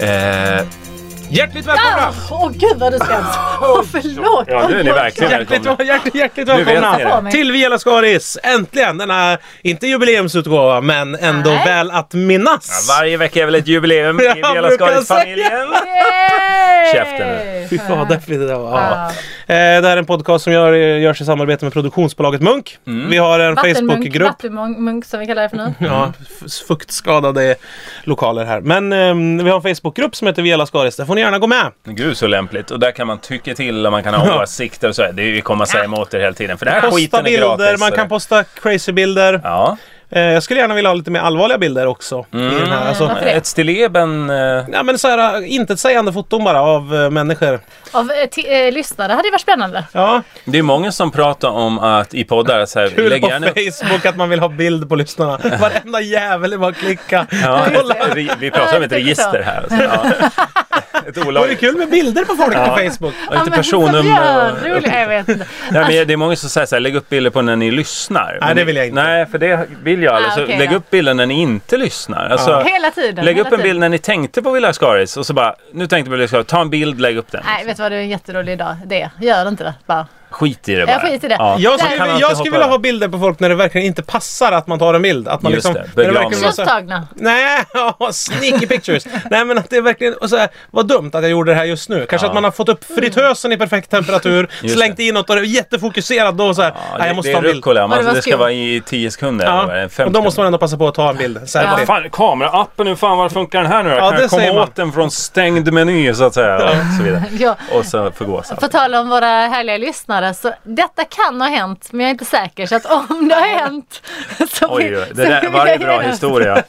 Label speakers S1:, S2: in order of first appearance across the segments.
S1: Eh, hjärtligt välkomna!
S2: Åh gud vad du skäms! Åh förlåt!
S3: Ja, nu är ni verkligen
S1: Hjärtligt,
S3: välkomna.
S1: hjärtligt, hjärtligt
S3: Nu vet ni
S1: välkomna
S3: det.
S1: till Viola Skaris! Äntligen denna, inte jubileumsutgåva, men ändå
S2: Nej.
S1: väl att minnas.
S3: Varje vecka är väl ett jubileum i
S1: Jag
S3: Vela
S1: brukar
S3: Skaris-familjen.
S2: Yay!
S3: Käften nu.
S1: Fy fader, fy- ja. Eh, Det här är en podcast som gör, görs i samarbete med produktionsbolaget Munk.
S3: Mm.
S1: Vi har en
S2: Vattenmunk,
S1: Facebookgrupp.
S2: vattenmunk som vi kallar det för nu.
S1: Ja, f- fuktskadade lokaler här. Men eh, vi har en Facebookgrupp som heter Viola Skaris. Där får ni gärna gå med.
S3: Gud så lämpligt. Och där kan man tycka till och man kan ha
S1: Ja.
S3: åsikter och så. här. Det är ju komma sig emot er hela tiden. För den här
S1: Posta
S3: skiten är
S1: bilder,
S3: gratis. eh.
S1: man
S3: så
S1: kan
S3: det-
S1: posta crazy-bilder.
S3: Ja.
S1: Eh, jag skulle gärna vilja ha lite mer allvarliga bilder också. I den
S3: Mm.
S1: här. Alltså,
S2: Varför det?
S3: Ett stilleben... eh,
S1: Nej men såhär intetsägande foton bara av eh, människor.
S2: Av eh, ti- eh, lyssnare hade ju varit spännande.
S1: Ja,
S3: Det är många som pratar om att i poddar så här,
S1: kul på
S3: lägger gärna upp...
S1: Facebook att man vill ha bild på lyssnarna. Varenda jävel är bara att klicka.
S3: Ja,
S1: Kolla.
S3: vi, vi pratar om ett
S2: Ja, jag tycker så.
S3: register här. Alltså. Ja. Ett
S1: Det är
S3: olagligt.
S1: kul med bilder på folk på Facebook.
S3: Och lite eh, personnummer. och-
S2: Roligt, jag vet inte.
S3: Nej, men det är många som säger så här, lägg upp bilder på när ni lyssnar. Men-
S1: det vill jag inte.
S3: Nej, för det vill jag aldrig.
S2: Ah,
S3: Så
S2: okej,
S3: lägg
S2: ja.
S3: upp bilder när ni inte
S1: Ah.
S3: lyssnar. Alltså,
S2: Hela tiden.
S3: Lägg
S2: hela
S3: upp en bild
S2: tiden.
S3: när ni tänkte på Villa Skaris och så bara, nu tänkte jag på Villa Skaris, ta en bild, lägg upp den.
S2: Nej, vet du vad? Det är en jätterolig dag. Det. Gör inte det. Bara.
S3: Skit i det bara.
S2: Jag skiter i det.
S3: Man
S1: Jag
S3: kan
S1: skulle,
S3: alltid
S1: jag skulle
S3: hoppa
S1: vilja
S3: över.
S1: ha bilder på folk när det verkligen inte passar att man tar en bild. Att man
S3: Just
S1: liksom,
S3: det,
S1: när
S3: begravning.
S1: verkligen var så här-
S2: Tjuvtagna.
S1: Nej, ja, sneaky pictures. Nej men att det är verkligen, och så här, vad dumt att jag gjorde det här just nu. Kanske
S3: Ja.
S1: att man har fått upp fritösen i perfekt temperatur,
S3: Just
S1: slängt i något och är jättefokuserad då och så här,
S3: Ja,
S1: nej,
S3: det,
S1: jag måste
S3: det
S1: ta
S3: är
S1: en bild.
S3: rucola, men
S2: Ja,
S3: alltså,
S2: det var
S3: det ska
S2: skumt.
S3: vara i 10 sekunder. eller
S1: Ja.
S3: vad är det,
S1: Och då måste man ändå passa på att ta en bild. Så här,
S2: Ja.
S1: det-
S3: Fan, kameraappen, hur fan var funkar den här nu då?
S1: Ja,
S3: kan
S1: det
S3: jag komma
S1: säger man.
S3: åt den från stängd meny så att säga? Och så vidare.
S2: Ja.
S3: Och så förgås
S2: På
S3: allt.
S2: tal om våra härliga lyssnare så detta kan ha hänt men jag är inte säker så att om det har hänt så
S3: Oj,
S2: vill-
S3: oj,
S2: så
S3: det där,
S2: vill
S3: varje
S2: jag
S3: bra
S2: gärna-
S3: historia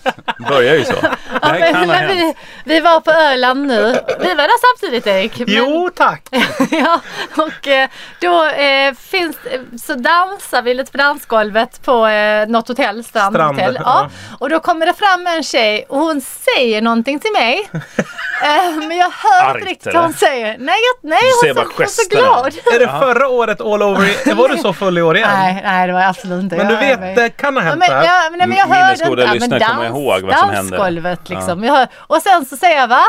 S3: börjar ju så. Det
S2: Ja,
S3: här
S2: men,
S3: kan ha
S2: men
S3: hänt.
S2: vi, vi var på Öland nu. Vi var där samtidigt Erik. Men,
S1: Jo tack!
S2: ja, och eh, då eh, finns, eh, så dansar vi lite på dansgolvet på eh, något hotell, Strand,
S1: Strand,
S2: hotell.
S1: ja.
S2: Ja. Och då kommer det fram en tjej och hon säger någonting till mig. eh, men jag hör
S3: Argt,
S2: inte riktigt
S3: eller?
S2: vad hon säger. Nej, jag, nej
S3: Du ser
S2: hon,
S3: bara
S2: så, hon är så
S3: gesterna.
S2: glad.
S1: Är det förra året all over? Var du så full i år igen?
S2: Nej, nej det var jag absolut inte.
S1: Men du
S2: Jag-
S1: vet, eh, det kan ha
S2: Ja,
S1: hänt
S2: men,
S1: så här.
S2: jag, nej, men jag hörde
S3: Minnesgoda
S2: inte. Ja,
S3: lyssnare
S2: men
S3: kommer ihåg vad som hände.
S2: Dansgolvet liksom. Jag hör, och sen så säger jag va?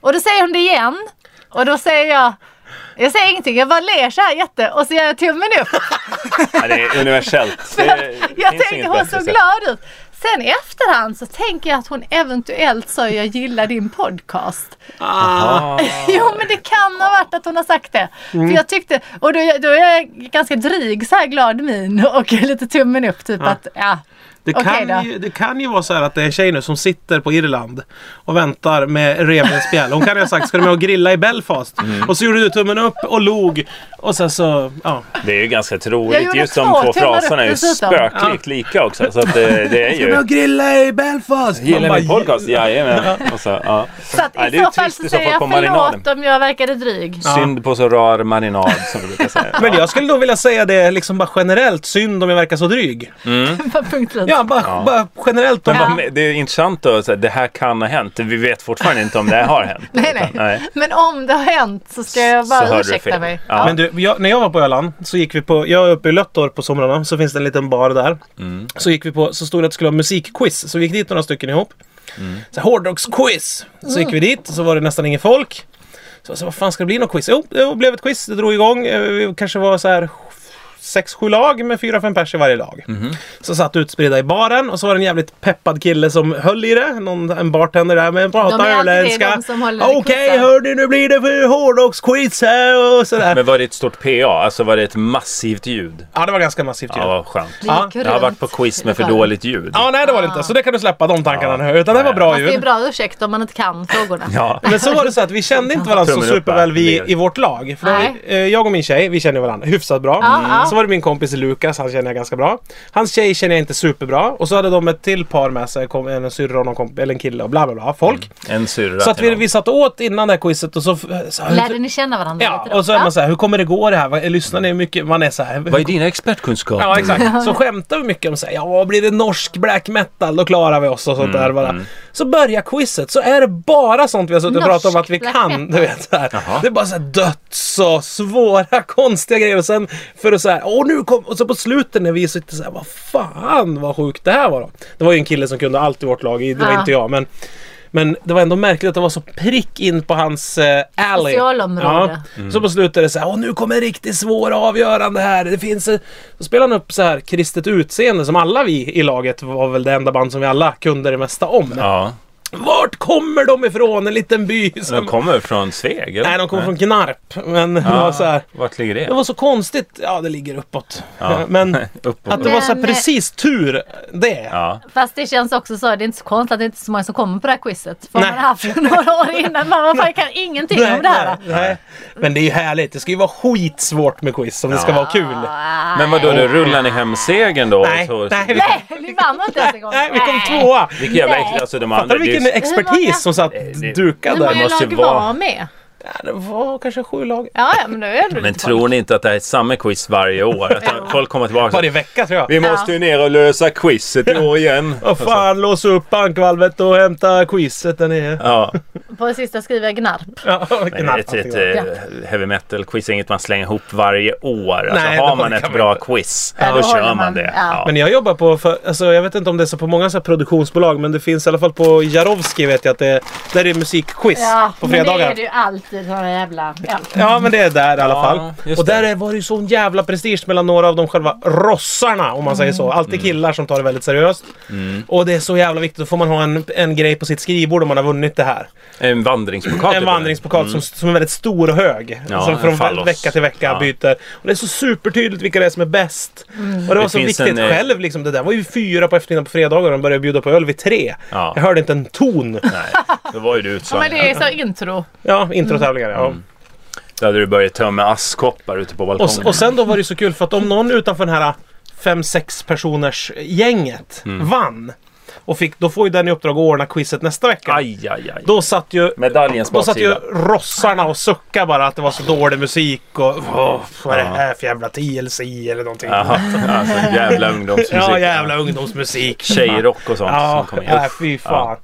S2: Och då säger hon det igen. Och då säger jag jag säger ingenting, jag bara ler så här jätte och så gör jag tummen upp.
S3: Ja, det är universellt. Det
S2: jag jag
S3: finns
S2: tänkte
S3: inget
S2: hon
S3: bättre
S2: såg
S3: sätt.
S2: glad ut. Sen i efterhand så tänker jag att hon eventuellt sa jag gillar din podcast.
S3: Ah.
S2: Jo men det kan ha varit att hon har sagt det.
S3: Mm.
S2: För jag tyckte, och då, då är jag ganska dryg så här glad min och lite tummen upp typ att ja.
S1: Det
S2: Okej
S1: kan,
S2: då.
S1: ju, det kan ju vara så här att det är en tjej nu som sitter på Irland och väntar med revbensspjäll. Hon kan ju ha sagt ska du med och grilla i Belfast? Och så gjorde du tummen upp och log. Och sen så, ja.
S3: Det är ju ganska
S2: Jag
S3: troligt.
S2: gjorde
S3: Just
S2: två
S3: de två
S2: tummar upp
S3: fraserna är ju
S2: dessutom.
S3: spöklikt lika också. Så att det, det är
S1: Ska du med
S3: ju...
S1: och grilla i Belfast? Man
S3: Gillar
S1: bara,
S3: min podcast? Jajamän. Och så, ja.
S2: Så att
S3: Nej, det
S2: i
S3: är
S2: så
S3: ju
S2: fall
S3: trist
S2: så
S3: i så
S2: säger
S3: fall
S2: jag
S3: på marginalen.
S2: förlåt om jag verkade dryg.
S3: Synd på så rar marinad som du brukar säga.
S1: Men jag skulle nog vilja säga det liksom bara generellt, synd om jag verkar så dryg.
S2: Bara punkt slut.
S1: Ja, bara, bara generellt. Om
S3: Men
S1: man,
S3: vad- Det är intressant då, så här, det här kan ha hänt. Vi vet fortfarande inte om det här har hänt.
S2: Nej, nej.
S3: Utan, nej.
S2: Men om det har hänt så ska jag
S3: Så
S2: bara
S3: hörde du
S2: ursäkta
S3: fel.
S2: mig.
S3: Ja.
S1: Men du, jag, när jag var på Öland så gick vi på, jag är uppe i Löttorp på somrarna, så finns det en liten bar där. Så gick vi på, så stod det att det skulle vara musikquiz, så vi gick dit några stycken ihop. Så här, hårdrocksquiz! Så gick vi dit, så var det nästan ingen folk. Så jag sa, vad fan ska det bli något quiz? Jo, det blev ett quiz, det drog igång. Eh, Vi kanske var så här sex, sju lag med fyra, fem pers i varje lag. Så satt utspridda i baren och så var det en jävligt peppad kille som höll i det. Någon, en bartender där med en
S2: alltid
S1: prata
S2: det,
S1: öländska.
S2: de som håller i
S1: Okej
S2: quizzen."
S1: hörni, nu blir det för hårdrocksquiz här och sådär.
S3: Men var det ett stort PA? Alltså var det ett massivt ljud?
S1: Ja, det var ganska massivt ljud.
S3: Ja,
S1: Ja,
S3: vad skönt.
S2: Det gick
S3: Jag har
S2: runt
S3: varit på quiz med för
S2: i lokalen.
S3: dåligt ljud.
S1: nej det var det inte. Så det kan du släppa de tankarna
S3: Ja.
S1: nu. Utan det var bra
S2: Fast det är
S1: ljud.
S2: bra ursäkt om man inte kan frågorna.
S3: Ja.
S1: Men så var det så att vi kände inte varandra så
S3: Tummen upp
S1: superväl
S3: där.
S1: vi i vårt lag. För då,
S2: Nej.
S1: eh, jag och min tjej, vi känner varandra hyfsat bra. Mm.
S2: Ja, ja.
S1: Så var det min kompis Lukas, han känner jag ganska bra. Hans tjej känner jag inte superbra. Och så hade de ett till par med sig, kom- en syrra och någon komp- eller en kille och bla bla bla. Folk.
S3: En syrra
S1: Så att
S3: till
S1: vi,
S3: någon.
S1: vi satt och åt innan det här quizet och så... eh, så här,
S2: Lärde ni känna varandra
S1: Ja,
S2: lite då?
S1: och så är man
S2: Ja.
S1: så här, hur kommer det gå det här? Vad- Lyssnar ni hur mycket? Man är så här...
S3: Vad är dina expertkunskaper?
S1: Ja exakt. Så skämtar vi mycket om så här, ja blir det norsk black metal då klarar vi oss och sånt där bara. Så börjar quizet så är det bara sånt vi har suttit och
S2: Norsk
S1: pratat om att vi
S2: black
S1: kan. Du vet, så här. Det är bara så här döds och svåra konstiga grejer och sen för att så här, åh nu kom, och så på slutet när vi sitter så här, vad fan vad sjukt det här var då. Det var ju en kille som kunde allt i vårt lag, det var
S2: Ja.
S1: inte jag men Men det var ändå märkligt att det var så prick in på hans eh, alley.
S2: Specialområde.
S1: Ja.
S3: Mm.
S1: Så på slutet är det så här, Åh, nu kommer riktigt svåra avgörande här. Det finns... eh." Så spelar han upp så här kristet utseende som alla vi i laget var väl det enda band som vi alla kunde det mesta om.
S3: Ja.
S1: Vart kommer de ifrån? En liten by som...
S3: De kommer från Sveg? eller?
S1: Nej, de kommer från Gnarp. Men det var så här...
S3: Vart ligger
S1: Det
S3: det?
S1: var så konstigt. Ja, det ligger uppåt.
S3: Ja.
S1: Men
S3: Uppåt.
S1: att det var så här
S2: Men, eh,
S1: precis tur det.
S3: Ja.
S2: Fast det känns också så, det är inte så konstigt att det inte är så många som kommer på det här quizet. För
S1: Nej.
S2: man har haft det några år innan. Man, man kan ingenting om det här.
S1: nej, nej. Men det är ju härligt. Det ska ju vara skitsvårt med quiz om det ska vara kul.
S3: Men vadå, då rullar ni hem segern då?
S1: Nej,
S3: Så-
S1: nej, vi,
S2: Nej, ni vann inte ens en gång.
S1: nej, vi kom
S2: Nej.
S1: tvåa.
S3: Vilken jävla
S2: Nej.
S3: äcklig, alltså de
S1: Fattar
S3: andra.
S1: du
S3: det är
S1: vilken
S3: ju- Eh,
S2: Hur många?
S1: expertis som satt
S3: det-
S1: dukad
S2: Hur
S1: där?
S3: Det
S2: många
S3: måste
S2: lag
S3: ju vara-
S2: var med?
S1: Ja, Det var kanske sju lag.
S2: Ja, ja, men nu är det
S3: Men
S2: inte
S3: tror ni inte att det här är samma quiz varje år? Att folk kommer tillbaka och
S1: Varje vecka tror jag.
S3: Vi måste ju ner och lösa quizet i år igen.
S1: Vad fan, lås upp bankvalvet och hämta quizet där nere.
S3: Ja,
S2: folk. På det sista skriver jag Gnarp.
S1: Ja, alltså.
S3: men
S1: knappt.
S3: ett, ett eh, heavy metal-quiz är inget man slänger ihop varje år. Alltså,
S1: Nej,
S3: har
S1: det
S3: man
S1: kan
S3: ett
S1: man
S3: bra
S1: inte.
S3: quiz,
S2: Ja,
S3: då
S2: då håller
S3: kör man
S2: man-
S3: det.
S2: ja.
S3: Ja.
S1: Men jag jobbar på, för, alltså, jag vet inte om det är så på många så här produktionsbolag, men det finns i alla fall på Jarowski vet jag att det där är det musikquiz på
S2: Men det
S1: fredagar.
S2: är det ju alltid såna jävla... Ja.
S1: Ja men det är där i alla
S3: Ja,
S1: fall.
S3: just
S1: Och där
S3: det.
S1: är- var det ju sån jävla prestige mellan några av de själva rossarna om man säger så.
S3: Mm.
S1: Alltid killar som tar det väldigt seriöst. Och det är så jävla viktigt. Då får man ha en, en grej på sitt skrivbord om man har vunnit det här.
S3: En vandringspokal.
S1: En
S3: typ.
S1: vandringspokal som, som är väldigt stor och hög.
S3: Ja,
S1: som
S3: en
S1: från
S3: fallos.
S1: vecka till vecka
S3: Ja.
S1: byter. Och det är så supertydligt vilka det är som är bäst. Och det var
S3: Det
S1: så
S3: finns en,
S1: viktigt
S3: eh,
S1: själv liksom. Det där var ju fyra på eftermiddagen på fredagar och de började bjuda på öl vid tre.
S3: Ja.
S1: Jag hörde inte en ton.
S3: Nej, då var ju du
S2: Ja, men
S3: utslagen.
S2: det är så intro.
S1: Ja, introtävlingar. Ja.
S3: Mm. Då hade du börjat tömma askkoppar ute på
S1: Och,
S3: balkongen.
S1: s- och sen då var det ju så kul för att om någon utanför den här fem sex personers gänget
S3: Mm.
S1: vann och fick, då får ju den i uppdrag att ordna quizet nästa vecka.
S3: Aj, aj, aj.
S1: Då satt ju
S3: Medaljens
S1: då satt ju
S3: baksida.
S1: rossarna och suckade bara att det var så dålig musik och "Åh, vad är det här för jävla TLC eller någonting. Ja,
S3: Jaha, alltså jävla ungdomsmusik.
S1: jävla ungdomsmusik.
S3: Tjejrock och sånt
S1: Ja,
S3: som kom in.
S1: nej, fy fan.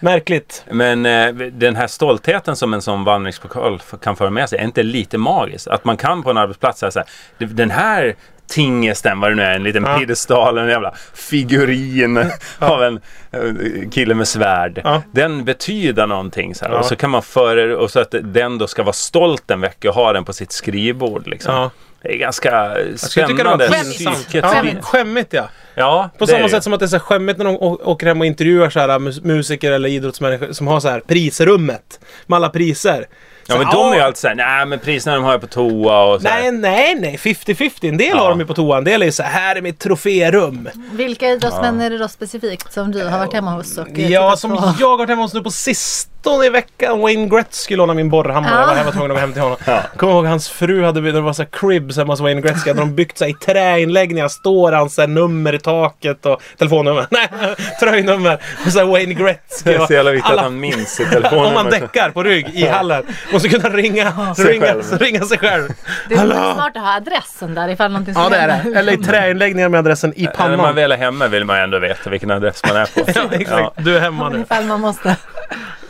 S1: Märkligt.
S3: Men eh, den här stoltheten som en sån vandringspokal f- kan föra med sig, är inte lite magisk? Att man kan på en arbetsplats säga så här, "Du, den här tingesten, vad det nu är, en liten
S1: Ja.
S3: piedestal, en jävla figurin av en eh, kille med svärd.
S1: Ja.
S3: Den betyder någonting så här.
S1: Ja.
S3: Och så kan man föra det- och så att den då ska vara stolt en vecka och ha den på sitt skrivbord liksom.
S1: Ja.
S3: Det är ganska
S1: Jag skulle tycka det var
S3: spännande.
S1: pinsamt.
S3: psyket i
S1: Ja,
S3: det.
S1: skämmigt ja.
S3: Ja,
S1: På
S3: det är
S1: samma
S3: det ju.
S1: sätt som att det är så här skämmigt när de å- åker hem och intervjuar så här mus- musiker eller idrottsmänniskor som har så här prisrummet med alla priser.
S3: Ja,
S1: Så,
S3: men de är ju
S1: "Ah,
S3: alltid såhär, nej men priserna de har jag på toa och så här.
S1: Nej, nej, nej. 50-50. En del
S3: Ja.
S1: har de ju på toa, en del är ju så här, här är mitt troférum.
S2: Vilka idrottsmän är det då specifikt som du har varit hemma hos? Och eh,
S1: Ja, som
S2: på?
S1: jag har varit hemma hos nu på sistone i veckan. Wayne Gretzky lånade min borrhammare.
S2: Ja.
S1: Jag var hemma tvungen att gå hem till honom. Kommer ihåg hans fru hade byggt, det var så här cribs hemma hos Wayne Gretzky. Hade de byggt så här i träinläggningar. Står hans så här nummer i taket och telefonnummer. Nej, tröjnummer. Och så här Wayne Gretzky.
S3: Det är
S1: och
S3: så jävla viktigt
S1: alla-
S3: att han minns sitt
S1: Om
S3: telefonnummer.
S1: man däckar på rygg i hallen. Måste kunna ringa,
S3: Sig
S1: ringa,
S3: själv.
S1: ringa sig själv.
S2: Det är smart att ha adressen där ifall någonting
S1: Ja, det är
S2: händer.
S1: det. Eller i träinläggningar med adressen i
S3: När man
S1: pannan.
S3: väl är hemma vill man ju ändå veta vilken adress man är på.
S1: Ja, exakt. Du är hemma nu.
S2: Ifall man måste.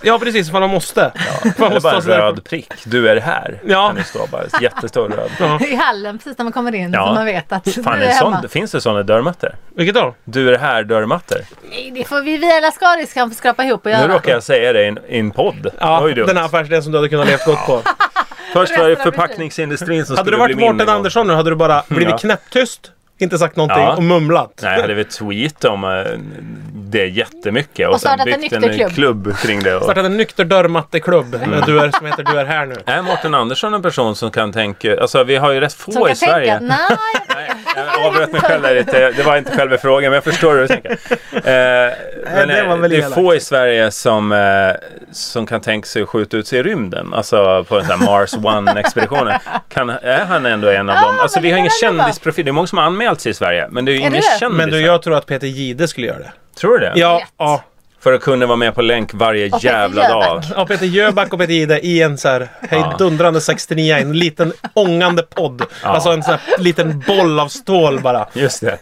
S1: Ja, precis. För man måste.
S3: Ja.
S1: Man
S3: Det är
S1: måste
S3: bara
S1: ta
S3: en
S1: sig därifrån.
S3: röd prick. Du är här.
S1: Ja.
S3: Kan det stå bara. Jättestor röd.
S2: I hallen precis när man kommer in
S3: Ja.
S2: så man vet att
S3: Fan,
S2: du är
S3: en
S2: hemma.
S3: sån, finns det sådana dörrmattor?
S1: Vilket då?
S3: Du är här dörrmattor.
S2: Nej, det får vi via Lascaris kan få skrapa ihop och
S3: Nu
S2: göra.
S3: råkar jag säga det i en, i en podd.
S1: Ja,
S3: Oj, dumt.
S1: den här affärsidén som du hade kunnat leva gott på.
S3: Först var det
S2: Resten av mitt liv.
S3: förpackningsindustrin som
S1: Hade du
S3: skulle
S1: varit
S3: bli min.
S1: Mårten
S3: en gång.
S1: Andersson nu hade du bara blivit
S3: Ja.
S1: knäpptyst, inte sagt någonting
S3: Ja.
S1: och mumlat.
S3: Nej, jag hade väl tweet om eh, det jättemycket. Och,
S2: Och
S3: sen
S2: startat en
S3: byggt en
S2: nykterklubb.
S3: klubb. klubb kring det. Och...
S1: Startat en nykter dörrmatteklubb med du är, som heter Du är här nu.
S3: Är Mårten Mm. Andersson en person som kan tänka... Alltså vi har ju rätt få
S2: Som
S3: i
S2: kan
S3: Sverige.
S2: tänka att nej,
S3: Jag avbröt mig själv där lite. Det var inte själva frågan, men jag förstår hur du tänker. Eh, men,
S1: det var
S3: eh,
S1: väl
S3: det är
S1: elakt.
S3: få i Sverige som, eh, som kan tänka sig att skjuta ut sig i rymden. Alltså på den här Mars One-expeditionen. Kan, är han ändå en av dem? Alltså
S2: men
S3: vi har
S2: det
S3: ingen
S2: kan han vara.
S3: kändisprofil. Det är många som har anmält sig i Sverige, men det är ju ingen
S2: det det?
S3: kändis.
S1: Men du, jag tror att Peter Gide skulle göra det.
S3: Tror du det?
S1: Ja,
S2: Lätt.
S1: ja.
S3: För att kunna vara med på länk varje
S2: Peter
S3: jävla
S2: Jöback.
S3: dag.
S1: ja Peter Jöback och Peter Gide i en så här hejdundrande 69, en liten ångande podd. Alltså en så här liten boll av stål bara.
S3: Just det.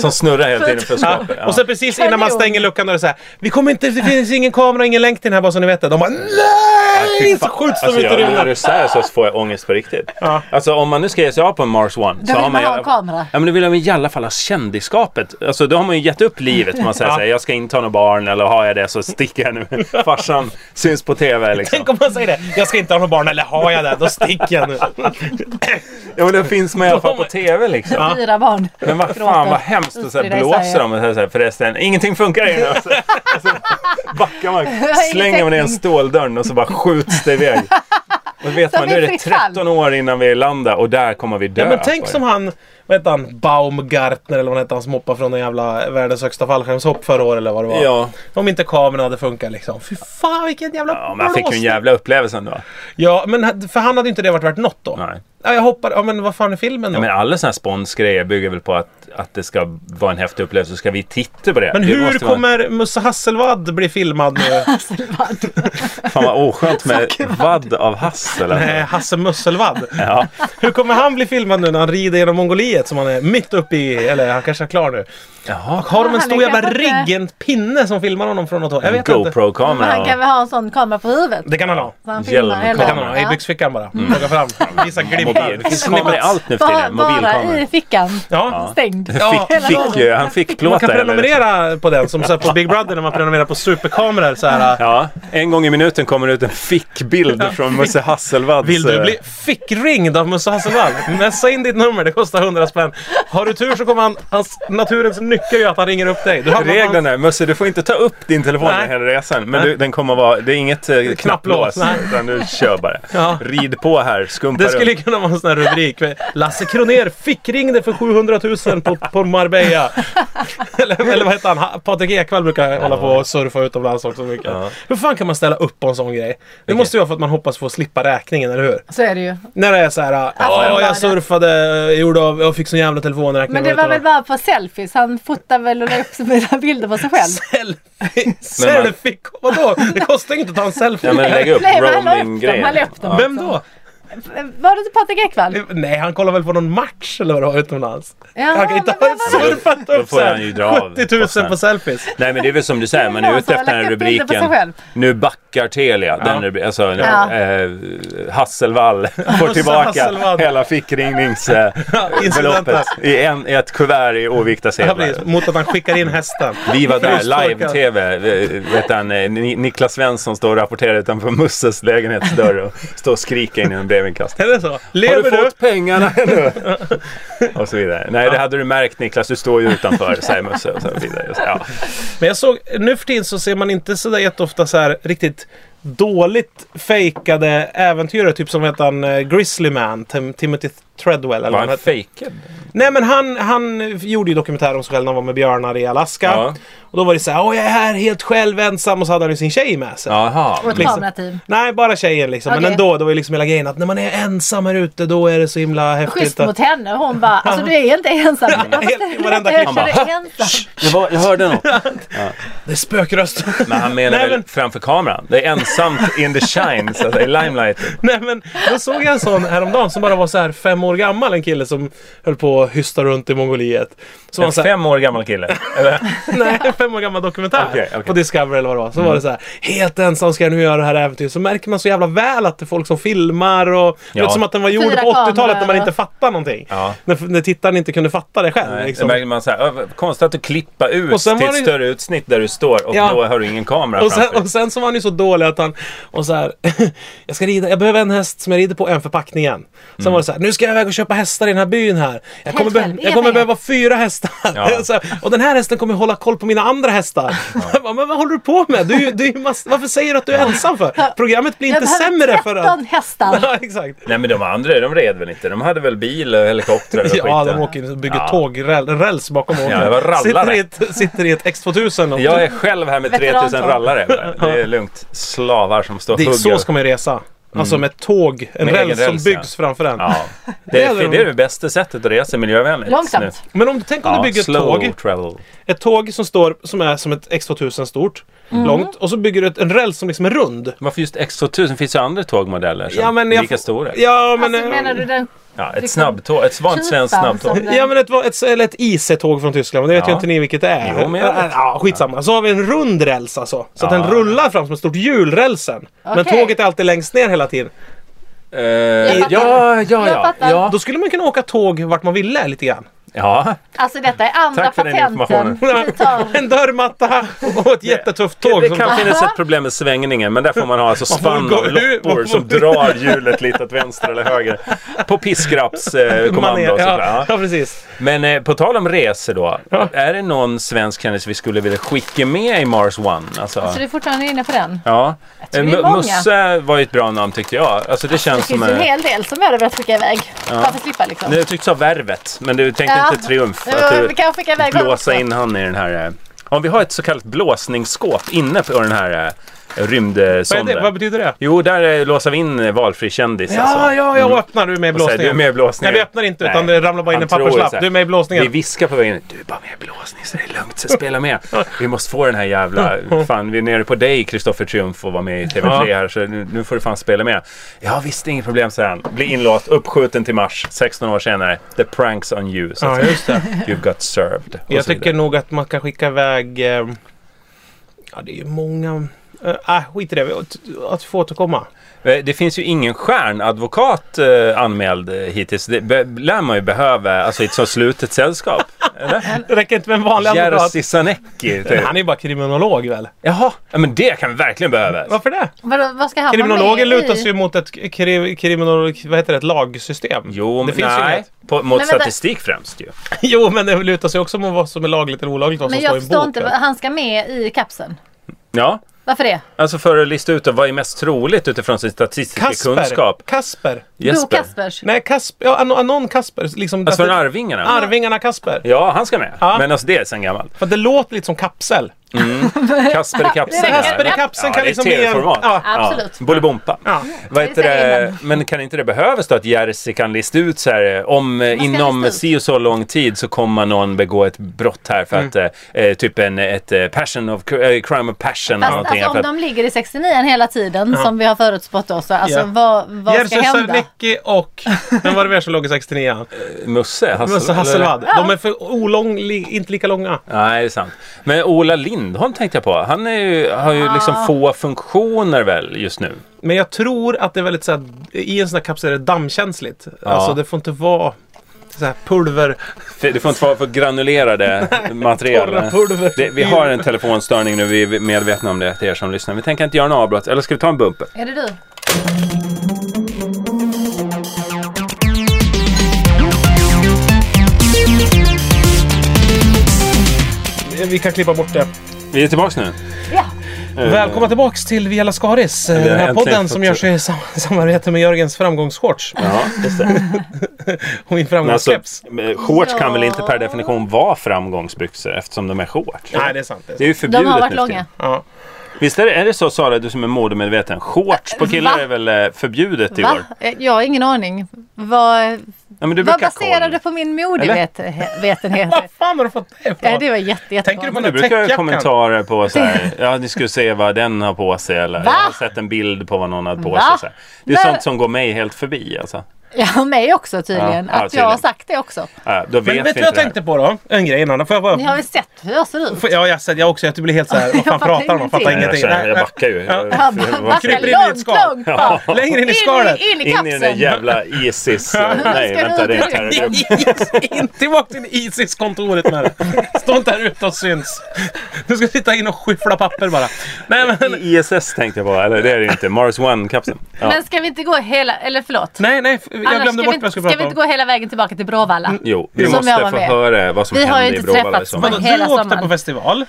S3: Som snurrar hela tiden för
S1: Ja.
S3: skapet. Ja.
S1: Och sen precis innan man
S2: Kanon.
S1: stänger luckan då är det så här. Vi kommer inte, det finns ingen kamera, ingen länk till den här bara så ni vet det. De bara NEJ! Så skjuts de
S3: Alltså,
S1: ut i
S3: jag, när
S1: rymden.
S3: du säger så får jag ångest på riktigt.
S1: Ja.
S3: Alltså om man nu ska ge sig av på en Mars One.
S2: Då vill man ha en kamera.
S3: Ja men då vill man i alla fall ha kändisskapet. Alltså då har man ju gett upp livet. Man säger
S1: Ja.
S3: så här, jag ska inte ha några barn eller ha har jag det så sticker jag nu. Farsan syns på TV liksom.
S1: Tänk om man säger det. Jag ska inte ha några barn, eller har jag det? Då sticker jag nu.
S3: Ja men den finns med i alla fall på TV liksom.
S2: Fyra barn.
S3: Men vad fan
S2: Gråter.
S3: vad hemskt och så här
S2: Utspridda i
S3: blåser
S2: Sverige.
S3: de och så här, förresten, ingenting funkar ju nu. Och så- och så Alltså, backar man,
S2: ingen
S3: slänger man ner en
S2: täckning.
S3: ståldörr och så bara skjuts det iväg. Och så vet
S2: Som
S3: man, nu är
S2: i
S3: det
S2: fritt fall.
S3: 13 år innan vi landar och där kommer vi dö. Alltså.
S1: Ja, men tänk
S3: för.
S1: som han, vad hette han, Baumgartner eller vad hette han som hoppade från den jävla världens högsta fallskärmshopp förra året eller vad det var.
S3: Ja,
S1: Om inte kameran hade funkat liksom. Fy fan vilken jävla
S3: ja men han fick ju en
S1: blåsning.
S3: jävla upplevelse ändå.
S1: Ja, men ha- för han hade ju inte det varit värt något då.
S3: Nej.
S1: Ja, jag hoppar. Ja, men vad fan är filmen då?
S3: Ja, men alla sådana här sponsgrejer bygger väl på att, att det ska vara en häftig upplevelse. Så ska vi titta på det.
S1: Men
S3: det
S1: hur
S3: måste vara-
S1: kommer Musse Hasselvad bli filmad nu?
S3: Fan vad oskönt med vadd av hassel. alltså.
S1: Nej, Hasse Musselvad.
S3: Ja.
S1: Hur kommer han bli filmad nu när han rider genom Mongoliet som han är mitt uppe i? Eller han kanske är klar nu.
S3: Jaha.
S1: Har de en
S2: Han
S1: stor
S2: är
S1: jävla
S2: kanske
S1: rigg,
S2: inte-
S1: en pinne som filmar honom från något håll? Jag
S3: En
S1: vet inte.
S2: Men han kan
S3: GoPro-kamera.
S2: väl ha en sån kamera på huvudet?
S1: Det kan han ha.
S2: Så han
S3: Hjälm och
S2: filmar hela.
S1: Det kan han ha. I
S2: Ja.
S1: byxfickan bara.
S3: Mm.
S1: Plocka fram. Visa
S3: och Mobil. Det
S1: glimpar.
S3: finns kameror i allt nu för
S2: Bara,
S3: tiden.
S2: bara i
S3: Mobilkameror.
S2: fickan.
S1: Ja.
S2: Stängd.
S1: Ja,
S3: Fick,
S2: hela
S3: fick
S2: dagen.
S3: ju, han fick
S1: Man kan
S3: plåtar. eller?
S1: prenumerera på den som så här på Big Brother när man prenumererar på superkameror. Så här,
S3: Ja, en gång i minuten kommer det ut en fickbild från Musse Hasselvads...
S1: Vill du
S3: eh,
S1: bli fickringd av Musse Hasselvall? Messa in ditt nummer, det kostar 100 spänn. Har du tur så kommer han, hans, naturens nyckel gör att han ringer upp dig. Du hamnar på hans-
S3: Reglerna är, Musse du får inte ta upp din telefon
S1: Nej.
S3: under hela resan. Men
S1: Nej.
S3: du, den kommer vara, det är inget eh, knapplås.
S1: Nej.
S3: Utan du kör bara.
S1: Ja.
S3: Rid på här, skumpa
S1: Det skulle
S3: runt.
S1: kunna vara en sån här rubrik. Med Lasse Kronér fickringde för 700 000 på, på Marbella. eller, eller vad heter han? Ha- Patrik Ekwall brukar hålla på och surfa utomlands också mycket.
S3: Ja.
S1: Hur fan kan man ställa upp på en sån grej? Det måste ju vara för att man hoppas få slippa räkningen, eller hur?
S2: Så är det ju.
S1: När det är så här, ja,
S2: man bara-
S1: jag surfade, jag, gjorde av, jag fick sån jävla telefonräkning.
S2: Men det
S1: Vad heter
S2: var väl
S1: de?
S2: bara på selfies. Han fotar väl och la upp sina bilder på sig själv.
S1: Selfie!
S3: Men man-
S1: selfie? Vadå? Det kostar ju inte att ta en selfie.
S3: Ja men lägg upp
S2: Nej, men han la upp dem.
S3: roaming-grejer.
S2: Han la upp dem.
S1: Vem då?
S2: Var det inte Patrik Ekwall?
S1: Nej, han kollar väl på någon match eller vad det var utomlands.
S2: Jaha,
S1: han kan inte
S2: men
S1: ha
S2: vad-
S1: surfat
S3: Då
S1: upp
S3: får
S1: så här
S3: han ju dra av
S1: 70 000 på
S3: kostnaden.
S1: selfies.
S3: Nej men det är väl som du säger, man är
S2: någon
S3: ute
S2: som har
S3: efter den här
S2: lagt upp bilder på sig
S3: rubriken.
S2: själv.
S3: Nu backar Telia. Den
S1: Ja.
S3: rubri- alltså,
S2: Ja.
S3: eh, Hasselvall får tillbaka
S1: Hasselvall.
S3: hela fickringningsbeloppet
S1: Incidenten.
S3: i, en, i ett kuvert i ovikta
S1: Ja,
S3: sedlar.
S1: precis. Mot att han skickar in hästen.
S3: Vi var där,
S1: Frystorkad.
S3: live-tv. eh, Vet han, eh, Ni- Niklas Svensson står och rapporterar utanför Musses lägenhetsdörr och står och skriker in genom brevinkastet.
S1: Är det så?
S3: Har
S1: Lever
S3: du
S1: du?
S3: fått pengarna ännu? Och så vidare. Nej, det hade du märkt Niklas. Du står ju utanför, säger Musse. Och så vidare. Ja.
S1: Men jag såg, nu för tiden så ser man inte sådär jätteofta så här riktigt dåligt fejkade äventyrare. Typ som vad heter han eh, Grizzly Man, Tim- Timothy Treadwell
S3: Var
S1: eller vad
S3: han
S1: han hette.
S3: fejkad?
S1: Nej men han, han gjorde ju dokumentär om sig själv när han var med björnar i Alaska.
S3: Ja.
S1: Och då var det så här, "Åh, jag är här helt själv ensam och så hade han ju sin tjej med sig.
S3: Jaha.
S2: Och ett
S1: Liksom.
S2: kamerateam.
S1: Nej, bara tjejen liksom. Men
S2: Okej.
S1: ändå, det var ju liksom hela grejen att när man är ensam här ute då är det så himla häftigt.
S2: Schysst
S1: att-
S2: mot henne. Hon bara, alltså du är inte ensam.
S1: Helt- varenda klipp.
S2: Han bara, ensam.
S3: Jag, var, jag hörde något.
S1: Det är spökröst.
S3: Men han menar
S1: Nej,
S3: väl
S1: men-
S3: framför kameran. Det är ensamt in the shine, så att säga, i limelighten.
S1: Nej men då såg jag en sån häromdagen som bara var så här fem år gammal. En kille som höll på att hysta runt i Mongoliet. Så var
S3: En
S1: han så här,
S3: fem år gammal kille. Eller?
S1: nej, en fem år gammal dokumentär
S3: Okej, okej.
S1: på Discovery eller vad det var. Så var det så här, helt ensam ska jag nu göra det här äventyret. Så märker man så jävla väl att det är folk som filmar och det
S3: Ja.
S1: låter som att den var gjord
S2: Fyra
S1: på 80-talet när man
S2: kameror.
S1: inte fattar någonting.
S3: Ja.
S1: När, när tittaren inte kunde fatta det själv.
S3: Nej,
S1: liksom.
S3: det märker man så här, "Ö, konstigt att du klippa ut
S1: Och sen
S3: till
S1: var
S3: ett
S1: det ju-
S3: större utsnitt där du står och
S1: Ja.
S3: då har du ingen kamera
S1: Och sen,
S3: framför
S1: och sen så var han ju så dålig att han... Och så här, jag, ska rida, jag behöver en häst som jag rider på, en förpackningen.
S3: Mm.
S1: Sen var det så här, nu ska jag iväg och köpa hästar i den här byn här. Jag kommer,
S2: själv,
S1: be-
S2: inga
S1: jag kommer
S2: pengar.
S1: behöva fyra hästar.
S3: Ja.
S1: Så här, och den här hästen kommer hålla koll på mina andra hästar. Jag bara, Men vad håller du på med? Du, är ju- du, är ju mass- varför säger du att du är ensam för? Programmet blir
S2: Jag
S1: inte sämre för att...
S2: 13 hästar.
S1: Ja, exakt.
S3: Nej men de andra, de red väl inte? De hade väl bil och helikopter och
S1: Ja,
S3: skiten.
S1: de åker in och bygger
S3: Ja.
S1: tågräls räls bakom åkern.
S3: det var
S1: sitter,
S3: rallare.
S1: i ett, sitter i ett X2000. Och,
S3: Jag är själv här med 3000
S2: Veterantåg.
S3: rallare. Det är lugnt. Slavar som står och
S1: det är,
S3: hugger.
S1: så ska man ju resa. Alltså med tåg, en
S3: Mm. Med egen
S1: räls som
S3: räls, ja.
S1: byggs framför en.
S3: Ja. Det, är,
S1: Det är
S3: det är det bästa sättet att resa miljövänligt.
S2: Långsamt.
S1: Men om, tänk om
S3: Ja,
S1: du bygger ett
S3: slow
S1: tåg,
S3: travel.
S1: ett tåg som, står, som är som ett X2000 stort,
S2: Mm.
S1: långt, och så bygger du ett, en räls som liksom är rund.
S3: Varför just X2000? Finns ju andra tågmodeller som är
S1: jag
S3: lika
S1: får-
S3: stora.
S1: Ja, men...
S2: Alltså,
S1: eh,
S2: menar du den
S3: Ja, ett
S2: liksom
S3: snabbtåg. Ett vanligt svenskt
S2: typen
S3: snabbtåg.
S2: som den-
S1: Ja men ett, va- ett, eller ett IC-tåg från Tyskland, men det vet
S3: Ja.
S1: ju inte ni vilket det är. Äh,
S3: Jo, men jag vet.
S1: ja, skitsamma. Så har vi en rund räls alltså. Så att
S3: Ja.
S1: den rullar fram som ett stort hjul, rälsen. Men
S2: Okej.
S1: tåget är alltid längst ner hela tiden.
S3: Eh, ja, ja,
S2: Jag
S3: ja.
S2: fattar.
S3: ja.
S1: Då skulle man kunna åka tåg vart man ville lite grann.
S3: Ja,
S2: Alltså detta är andra
S3: Tack för den
S2: patenten.
S3: informationen.
S2: Vi tar-
S1: En dörrmatta och ett jättetufft tåg.
S3: det
S1: som-
S3: kan finnas ett problem med svängningen men där får man ha alltså
S1: Man får
S3: spann
S1: gå
S3: av
S1: ur- man
S3: loppor
S1: får-
S3: som drar hjulet lite åt vänster eller höger. På piskraps eh,
S1: Man är-
S3: kommando och sådär.
S1: ja,
S3: Ja.
S1: ja, precis.
S3: Men eh, på tal om resor då. Är det någon svensk kändis vi skulle vilja skicka med i Mars One? Alltså,
S2: Så du är fortfarande inne på den?
S3: ja.
S2: tror
S3: Eh,
S2: det är
S3: Mu-
S2: många.
S3: Musse var ju ett bra namn tyckte jag. Alltså det
S2: Det
S3: känns som...
S2: finns ju en
S3: eh,
S2: hel del som jag hade velat skicka iväg. Bara för att slippa liksom.
S3: Nej, jag tyckte du sa värvet, men du tänkte
S2: Ja.
S3: inte triumf.
S2: Jo,
S3: Att du
S2: vi kan skicka iväg honom
S3: blåsa
S2: också.
S3: in han i den här... eh, Om vi har ett så kallat blåsningsskåp inne på den här eh,
S1: Vad, är det?
S3: rymdsonden.
S1: Vad betyder det?
S3: Jo, där eh, låsar vi in eh, valfri kändis.
S1: Ja,
S3: alltså.
S1: ja, jag öppnar. Du är med i
S3: Och säger,
S1: blåsningen.
S3: du är med i blåsningen.
S1: Nej, vi öppnar inte, utan
S3: Nej.
S1: det ramlar bara in
S3: Han
S1: en
S3: tror ju
S1: papperslapp.
S3: så här,
S1: Du är med i blåsningen.
S3: Vi viskar på vägen in, Du är bara med i blåsningen så det är lugnt. Så spela med. Vi måste få den här jävla... Fan, vi är nere på dig Kristoffer Triumf och vara med i TV3 här. Så nu, nu får du fan spela med. Ja visst, inget problem säger han. Blir inlåst, uppskjuten till mars. 16 år senare. The pranks on you. Så att
S1: Ja,
S3: säga.
S1: just det.
S3: You've got served. Och
S1: Jag
S3: så
S1: tycker
S3: vidare.
S1: nog att man kan skicka iväg... Eh, ja, det är ju många... Eh, ah, skit i det. Att, att få återkomma.
S3: Eh, Det finns ju ingen stjärnadvokat eh, anmäld eh, hittills. Det be- lär man ju behöva alltså, i ett så slutet sällskap. Eller?
S1: Det räcker inte med en vanlig advokat.
S3: Jerzy Sarnecki. typ.
S1: Han är ju bara kriminolog väl?
S3: Jaha, ja, men det kan verkligen behövas.
S1: Varför det?
S2: Vadå, vad ska han vara med
S1: Kriminologen lutar sig
S2: i?
S1: ju mot ett kri- kriminolog... Vad heter det? Ett lagsystem.
S3: Jo,
S1: det
S3: men
S1: finns ju
S3: nej.
S1: inget.
S3: På, mot
S2: Men vänta.
S3: statistik främst ju.
S1: Jo, men det lutar sig också mot vad som är lagligt eller olagligt. Vad som
S2: Men
S1: står i
S2: jag
S1: en bok.
S2: förstår inte, vad- han ska med i kapseln.
S3: Ja,
S2: Varför det?
S3: alltså för att lista ut då, vad är mest troligt utifrån sin statistiska
S1: Kasper.
S3: kunskap.
S1: Kasper.
S2: Bo Kaspers.
S1: Nej, Kasper. Ja, någon, någon Kasper. Liksom,
S3: Alltså för Arvingarna.
S1: Arvingarna Kasper.
S3: Ja, han ska med.
S1: Ja.
S3: Men alltså det är sen gammalt.
S1: För det låter lite som kapsel.
S3: Kasper i kapseln.
S2: Det är
S1: Kasper i kapseln
S3: ja,
S1: kan
S3: det är
S1: liksom bli en-
S3: TV-format.
S1: ja.
S2: Absolut.
S3: Bolibompa.
S1: Ja.
S3: Vad
S2: Det
S3: heter
S2: säger
S3: det? Men kan inte det behövas då att Jerzy kan lista ut så här eh, om eh,
S2: ska
S3: inom
S2: lista
S3: si och så lång tid så kommer någon begå ett brott här för
S1: Mm.
S3: att eh, eh, typ en ett eh, passion of eh, crime of passion eller
S2: Fast
S3: någonting.
S2: alltså,
S3: för
S2: om
S3: att,
S2: de ligger i 69 hela tiden som vi har förutspått då, så alltså,
S1: Ja.
S2: vad, vad ska
S1: Jerzy
S2: hända?
S1: Sarnecki och... Vem var det mer som låg i 69
S3: Alltså, Musse Hasselvad.
S1: Musse Hasselvad. De är för olång, li, inte lika långa.
S3: Nej, det är sant. Men Ola Lindholm tänkte jag på. Han är ju, har ju
S2: Ah.
S3: liksom få funktioner väl just nu.
S1: Men jag tror att det är väldigt så här, I en sån här kapsel är det dammkänsligt. Alltså det får inte vara så här pulver.
S3: För- Du får inte vara för granulerade material.
S1: torra pulver.
S3: Det, vi har en telefonstörning nu, vi är medvetna om det till er som lyssnar. Vi tänker inte göra en avbrott, eller ska vi ta en bumper?
S2: Är det du?
S1: Vi kan klippa bort det.
S3: Vi är tillbaka nu.
S2: Ja.
S1: Välkomna tillbaks till Via Lascaris. eh,
S3: Mm. Vi har
S1: Den här
S3: äntligen
S1: podden
S3: fått-
S1: som görs i sam- samarbete med Jörgens framgångsshorts.
S3: Ja, just det.
S1: Och min
S3: Men alltså,
S1: framgångskeps.
S3: eh, shorts kan väl inte per
S2: Ja.
S3: definition vara framgångsbyxor eftersom de är shorts?
S1: Nej, det är sant. Det
S3: Det
S1: är sant.
S3: är ju förbjudet
S2: De har varit
S3: nu för
S2: långa.
S3: tiden.
S1: Ja.
S3: Visst är det, är det så Sara, du som är modemedveten, shorts på killar
S2: Va?
S3: är väl eh, förbjudet i år?
S2: Va? Eh, Jag har ingen aning. Vad,
S3: Ja, men du
S2: vad
S3: brukar ha
S2: baserar
S3: koll.
S2: du på min modevetenhet?
S1: Vad fan har du fått det ifrån?
S2: Ja, det var jätte, jätte
S1: Tänker du på
S3: Du
S1: den
S3: brukar
S1: täckjackan?
S3: göra kommentarer på så här, ja ni skulle se vad den har på sig eller
S2: Va?
S3: jag har sett en bild på vad någon har på
S2: Va?
S3: sig. Så här. Det är
S2: Men-
S3: sånt som går mig helt förbi alltså.
S2: Ja, mig också tydligen.
S3: Ja,
S2: att
S3: ja, tydligen.
S2: jag har sagt det också.
S3: Äh, då vet
S1: Men vet
S3: vi
S1: du vad jag
S3: inte
S1: tänkte på då? En grej innan. Då Får jag bara...
S2: Ni har väl sett hur jag ser ut?
S1: Får- Ja, jag, ser- jag också. Jag blir helt så här. Vad fan
S2: Jag fattar
S1: pratar de om? Fattar
S3: det här. Nej, jag,
S1: ingenting.
S3: känner, jag
S1: Nej,
S3: backar ju.
S1: Ja.
S2: Ja, man ska
S1: kryper in i ett
S2: långt,
S1: skal.
S2: långt bak.
S1: nej. Längre in i skalet.
S2: In, i
S3: In i den där
S2: kapseln.
S3: jävla Isis... eh, Nej,
S2: ska
S3: vänta,
S2: du
S3: det är en
S2: inte-
S3: terrorgrupp.
S1: In tillbaka till Isis-kontoret med det. Stå inte här ute och syns. Du ska sitta in och skyffla papper bara. Nej, men,
S3: ISS tänkte jag på, eller det är det ju inte. Mars One-kapseln. Ja.
S2: Men ska vi inte gå hela, eller förlåt.
S1: nej, nej. Jag
S2: Annars
S1: glömde
S2: ska
S1: bort
S2: vi,
S1: vad jag
S2: inte-
S1: skulle
S2: ska vi
S1: prata
S2: inte
S1: om.
S2: gå hela vägen tillbaka till Bråvalla?
S3: Jo, vi
S2: Som jag
S3: måste
S2: var
S3: få
S2: med.
S3: höra vad som
S2: Vi har ju
S3: hände i
S2: inte
S3: Bråvalla i
S2: träffats
S3: sommar.
S2: på-
S1: Du
S2: hela
S1: åkte
S2: sommaren.
S1: på festival.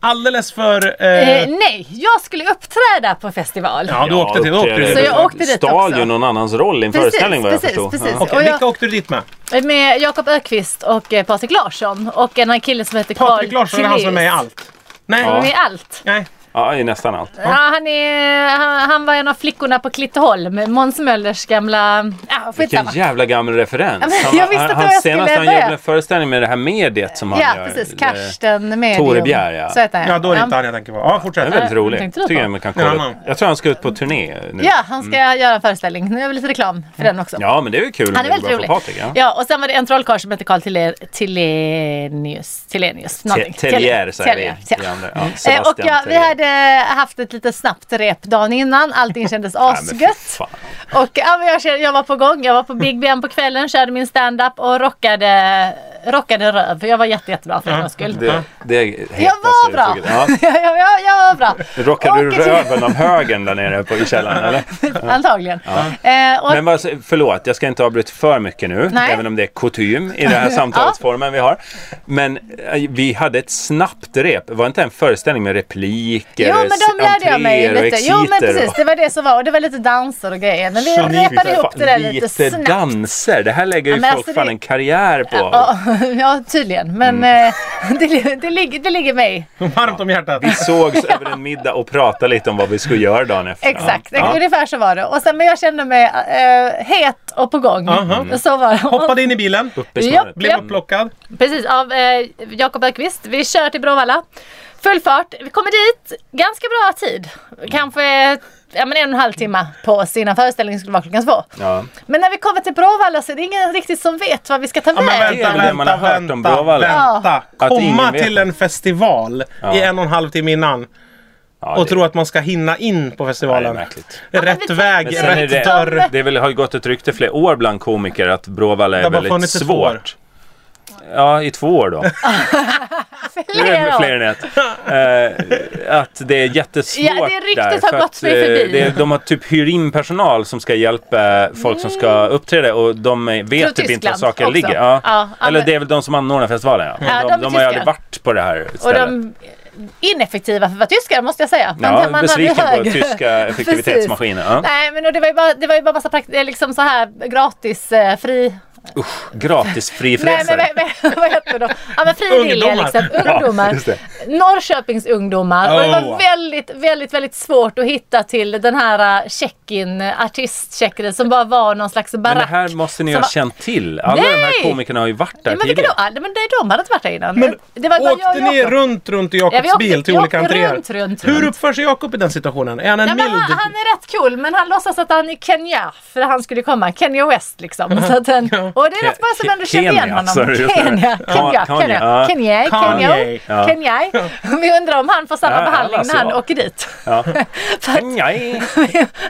S1: Alldeles för... Eh,
S2: Eh, nej, jag skulle uppträda på festival.
S1: ja, du åkte till... Du åkte
S2: Så
S1: till.
S2: jag åkte dit
S3: Stal
S2: också.
S3: ju någon annans roll i en
S2: Precis,
S3: föreställning vad jag
S2: precis,
S3: förstod.
S2: precis.
S3: Ja.
S1: Okej,
S2: och jag-
S1: vilka åkte du dit med?
S2: Med Jakob Ökvist och eh, Patrik Larsson och en annan kille som heter Carl
S1: Patrik Larsson är han som är med i
S2: Tullius.
S1: allt. Nej.
S2: Han är med i allt.
S1: Nej.
S3: Ja, i nästan allt.
S2: Ja, han, är, han, han var en av flickorna på Klitteholm, Måns Möllers gamla... Ja,
S3: Vilken
S2: skitsamma.
S3: jävla gammal referens.
S2: Ja, men jag visste inte vad
S3: han
S2: jag skulle
S3: senast han
S2: börja.
S3: gjorde en föreställning med det här mediet som han
S2: Ja,
S3: gör.
S2: precis.
S3: Det-
S2: Karsten med
S3: Tore Bjerre, ja.
S2: Så heter han.
S1: Ja, då är det inte han jag tänker på. Ja, fortsätt.
S3: Den är väldigt
S2: Ja,
S3: rolig.
S2: tänkte du
S3: Tycker
S2: på?
S3: jag man kan
S1: Ja,
S3: kolla.
S1: man.
S3: upp. Jag tror han ska ut på turné nu.
S2: Ja, han ska
S3: Mm.
S2: göra en föreställning. Nu gör vi lite reklam för den också.
S3: Ja, men det är ju kul.
S2: Han är
S3: om det
S2: väldigt
S3: går bra
S2: rolig.
S3: för Patrik, ja.
S2: Ja, och sen var det en trollkarl som hette Carl Tille- Tillenius. Tillenius, någonting.
S3: Te- Tellier säger vi.
S2: Tellier, ja.
S3: i andra. Ja,
S2: Eh, Och
S3: Sebastian
S2: ja, vi
S3: Tellier.
S2: hade haft ett lite snabbt rep dagen innan. Allting kändes
S3: Ja, men fy
S2: asgött.
S3: fan.
S2: Och ja, men jag, kände, jag var på gång, jag var på Big Ben på kvällen, körde min stand-up och rockade rockade röv. Jag var jätte, jättebra för en gångs skull.
S3: Det, det hetaste
S2: Jag var bra!
S3: uttrycket.
S2: Ja.
S3: Ja.
S2: jag, jag, jag var bra.
S3: Rockade du
S2: Åker till-
S3: röven av högen där nere på, i källaren eller?
S2: Antagligen. Eh, och,
S3: Men vad, förlåt, jag ska inte avbryta för mycket nu,
S2: Nej.
S3: även om det är kutym i den här samtalsformen vi har. Men eh, vi hade ett snabbt rep. Var inte en föreställning med repliker,
S2: jo, men de lärde jag mig
S3: entréer och
S2: lite. Jo, men
S3: exiter
S2: precis.
S3: och-
S2: Det var det som var. Och det var lite danser och grejer. Men vi
S3: Fan,
S2: repade ihop det där lite
S3: lite
S2: snabbt.
S3: danser. Det här lägger ju
S2: Ja, men
S3: folk
S2: alltså
S3: fan
S2: det-
S3: en karriär på.
S2: Ja, ja, tydligen. Men
S3: Mm.
S2: eh, det, det, ligger, det ligger mig.
S1: Varmt om hjärtat.
S3: Vi sågs över en middag och pratade lite om vad vi skulle göra dagen efter.
S2: Exakt,
S3: Ja. Ja.
S2: ungefär så var det. Och sen, men jag kände mig eh, het och på gång.
S3: Mm.
S1: Aha.
S2: Så var det.
S1: Hoppade in i bilen.
S3: Uppe i
S2: Ja,
S3: snöret.
S1: Blev upplockad.
S2: Precis, av eh, Jakob Bergqvist. Vi kör till Bråvalla. Full fart. Vi kommer dit ganska bra tid. Kanske ja, men en och en halv timme på oss innan föreställningen skulle vara klockan två.
S3: Ja.
S2: Men när vi kommer till Bråvalla så är det ingen riktigt som vet vad vi ska ta
S1: Ja, men
S2: vägen.
S1: vänta,
S3: Det är det man
S1: vänta,
S3: har hört om
S1: vänta.
S3: Bråvalla.
S1: vänta.
S3: Ja. Att ingen
S1: Komma
S3: vet.
S1: till en festival i en och en halv timme innan
S3: Ja,
S1: och
S3: det-
S1: tro att man ska hinna in på
S3: Ja, det är
S1: festivalen.
S3: märkligt.
S2: men
S1: Rätt
S2: vi-
S1: väg,
S3: Men sen är
S1: rätt
S3: det,
S1: dörr.
S3: det är väl, har ju gått ett rykte flera år bland komiker att Bråvalla
S1: Det
S3: är
S1: har bara
S3: väldigt
S1: funnits i två år.
S3: svårt. Ja, i två år då. Nu är det fler än ett. Eh, att det är jättesvårt
S2: Ja, det ryktet
S3: där,
S2: har
S3: för
S2: gått
S3: att,
S2: mig
S3: eh,
S2: förbi.
S3: Det, de har typ hyr in personal som ska hjälpa folk som ska uppträda och de eh, vet typ inte var
S2: Mm. Tyskland
S3: saker
S2: också.
S3: ligger. Ja.
S2: Ja, ja,
S3: Eller
S2: men-
S3: det är väl de som anordnar festivalen. Ja.
S2: Ja,
S3: de,
S2: de
S3: har
S2: är
S3: ju aldrig
S2: tyskar.
S3: varit på det här stället.
S2: Och de ineffektiva för att vara tyskar måste jag säga.
S3: ja,
S2: hade
S3: besviken på
S2: högre-
S3: tyska effektivitetsmaskiner. Ja.
S2: Nej men och det var ju bara, det var ju bara massa prakt- eh, liksom så här gratis eh, fri...
S3: Gratis
S2: Nej men
S3: frifräsare.
S2: vad- vad- vad heter det då? Ja men fri vilja
S1: Ungdomar.
S2: liksom. Ungdomar.
S3: just det.
S2: Norrköpingsungdomar. Och det var
S1: Oh.
S2: väldigt, väldigt, väldigt svårt att hitta till den här eh, check-in, eh, artistcheckaren som bara var någon slags barack.
S3: Men det här måste ni
S2: Som
S3: ha
S2: var-
S3: känt till. Alla de här
S2: Nej!
S3: komikerna har ju varit där
S2: Ja, men vilka
S3: tidigare.
S2: då? Ah, Men de- de hade inte varit där innan.
S1: Men
S2: det var bara jag
S1: åkte
S2: och
S1: ni
S2: Jakob.
S1: runt, runt i
S2: Ja,
S1: Jakobs
S2: vi åkte-
S1: bil till
S2: vi
S1: olika
S2: åkte
S1: entréer?
S2: runt, runt,
S1: Hur
S2: runt.
S1: uppför sig Jakob i den situationen? Är han en
S2: Ja, men
S1: mild?
S2: han, han är rätt cool men han låtsas att han är Kenya för han skulle komma. Kenya West liksom. Så att han, och det är rätt många som
S3: Ke-
S2: ändå kände
S3: Kenya,
S2: igen honom.
S3: sorry, just det.
S2: Kenya, Kenya,
S3: Ja, Kanye,
S2: Kenya,
S3: ja.
S2: Kenya, Kenya,
S1: Kanye,
S3: ja.
S2: Kenya. Vi undrar om han får samma
S3: Ja,
S2: behandling
S3: alla
S2: när han
S3: så.
S2: åker dit.
S3: Ja.
S2: För att
S3: Nej.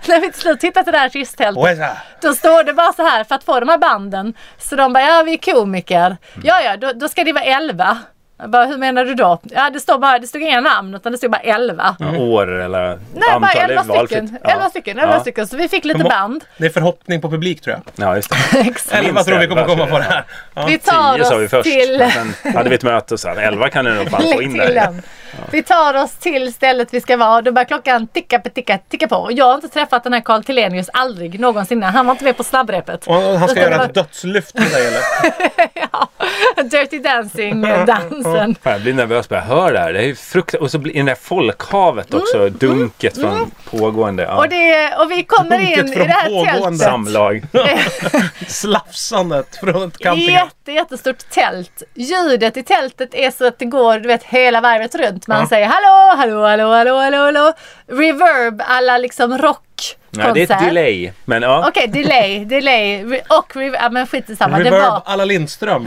S2: när vi till slut hittar till det här artisttältet
S1: Och är så här.
S2: då står det bara så här för att få de här banden. Så de bara, ja vi är komiker.
S3: Mm.
S2: Ja, ja, då, då ska det vara 11. Jag bara, hur menar du då? Ja, det, står bara, det stod inga namn utan det stod bara 11.
S3: År eller
S2: Mm. Nej,
S3: Mm. antal.
S2: bara
S3: det är
S2: 11
S3: valfritt.
S2: stycken.
S3: Ja.
S2: 11 stycken, 11
S3: Ja.
S2: stycken. Så vi fick lite
S1: må-
S2: band.
S1: Det är förhoppning på publik tror jag.
S3: Ja, just det.
S2: Exakt.
S1: Eller vad tror vi kommer komma på det här?
S2: Vi tar
S3: Tio sa vi
S2: oss
S3: först.
S2: till...
S3: men Sen hade vi ett möte och sa elva kan ni nog fan få in
S2: till
S3: där.
S2: den. Vi tar oss till stället vi ska vara. Då börjar klockan ticka, på, ticka, ticka på. Och jag har inte träffat den här Carl Tillenius aldrig någonsin. innan. Han var inte med på snabbrepet.
S1: Och han ska
S2: Utan
S1: göra
S2: det
S1: ett dödslyft med dig eller?
S2: var Dirty Dancing-dansen.
S3: Fan, jag blir nervös bara jag hör det här. Det är ju fruktansvärt. Och så blir det där folkhavet också. dunket från pågående. Ja.
S2: Mm, Och, det, och vi kommer
S1: Dunket
S2: in i
S1: från
S2: det här
S1: pågående.
S2: tältet.
S3: Samlag.
S1: Slafsandet från ett camping.
S2: Jätte, jättestort tält. Ljudet i tältet är så att det går du vet, hela varvet runt. Man säger hallå, hallå, hallå, hallå, hallå, hallå. Reverb alla liksom rockkonsert.
S3: Nej, det är ett delay. Men ja.
S2: Okej, delay, delay re- och reverb. Ja, men skit i samma. Det
S1: Reverb
S2: var...
S1: alla Lindström.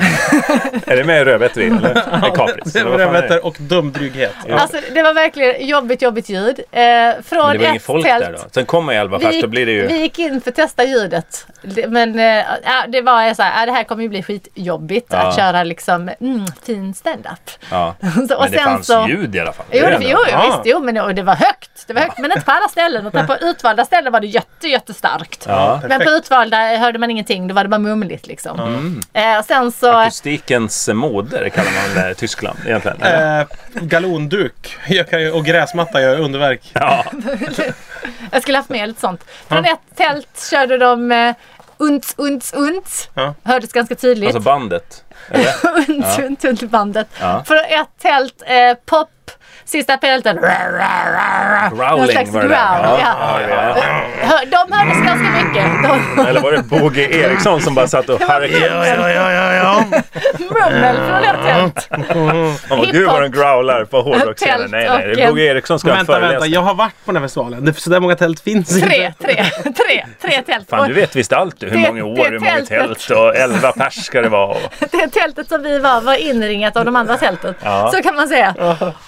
S3: Är det med Rödbetor eller? Med Capris?
S1: Det
S3: eller
S1: var
S3: vad
S1: det
S3: fan är det?
S1: heter och dumdryghet.
S2: Alltså, det var verkligen jobbigt, jobbigt ljud. Eh, från
S3: Men det var inget
S2: ett
S3: folk
S2: tält.
S3: där då. Sen kommer elva
S2: Vi
S3: fast
S2: gick,
S3: då blir det ju...
S2: vi gick in för att testa ljudet. Det- Men eh, ja, det var så här, ja, det här kommer ju bli skitjobbigt
S3: Ja.
S2: att köra liksom mm, fin standup.
S3: Ja.
S2: Så-
S3: Men det
S2: sen
S3: fanns
S2: så-
S3: ljud i alla fall.
S2: Jo,
S3: Det är
S2: det,
S3: ändå-
S2: jo, jo
S1: Ja.
S2: visst. Jo, men och det var högt. Det var högt, men inte på alla ställen. Utan på utvalda ställen var det jätte, jättestarkt.
S3: Ja.
S2: Men på
S1: perfekt.
S2: utvalda hörde man ingenting. Då var det bara mumligt liksom.
S3: Mm.
S2: Eh, och sen så...
S3: Akustikens moder kallar man det i Tyskland egentligen.
S1: Eh, galonduk jag kan ju, och gräsmatta gör underverk.
S3: Ja,
S2: Jag skulle haft med lite sånt. Från ett tält körde de eh, Unts, unts, unts.
S1: Ja.
S2: Hördes ganska tydligt.
S3: alltså bandet. Eller?
S2: unts, unts, unts, bandet.
S3: Ja.
S2: Från ett tält, eh, pop. Sista tältet. Någon
S3: Growling
S2: slags
S3: var det där.
S2: growl. Ja.
S3: Ja, ja, ja.
S2: Hör- De hördes ganska mycket. De,
S3: Eller var det Boge Eriksson som bara satt och harkade?
S1: ja, ja, ja.
S2: mummel från ett tält.
S3: Han bara, Gud vad de growlar på hårdrocksscenen. Nej, nej, det är Boge Eriksson som ska ha en
S1: Vänta, vänta.
S3: föreläsning.
S1: Jag har varit på den här festivalen. Det- Så där många tält finns
S2: Tre,
S1: inte.
S2: tre, tre, tre tält.
S3: Fan, du
S2: Och
S3: vet visst allt du. Hur
S2: Det-
S3: många
S2: det
S3: år, hur många
S2: tältet.
S3: tält och elva pers ska det vara. Och...
S2: det tältet som vi var var inringat av de andra tälten.
S3: Ja.
S2: Så kan man säga.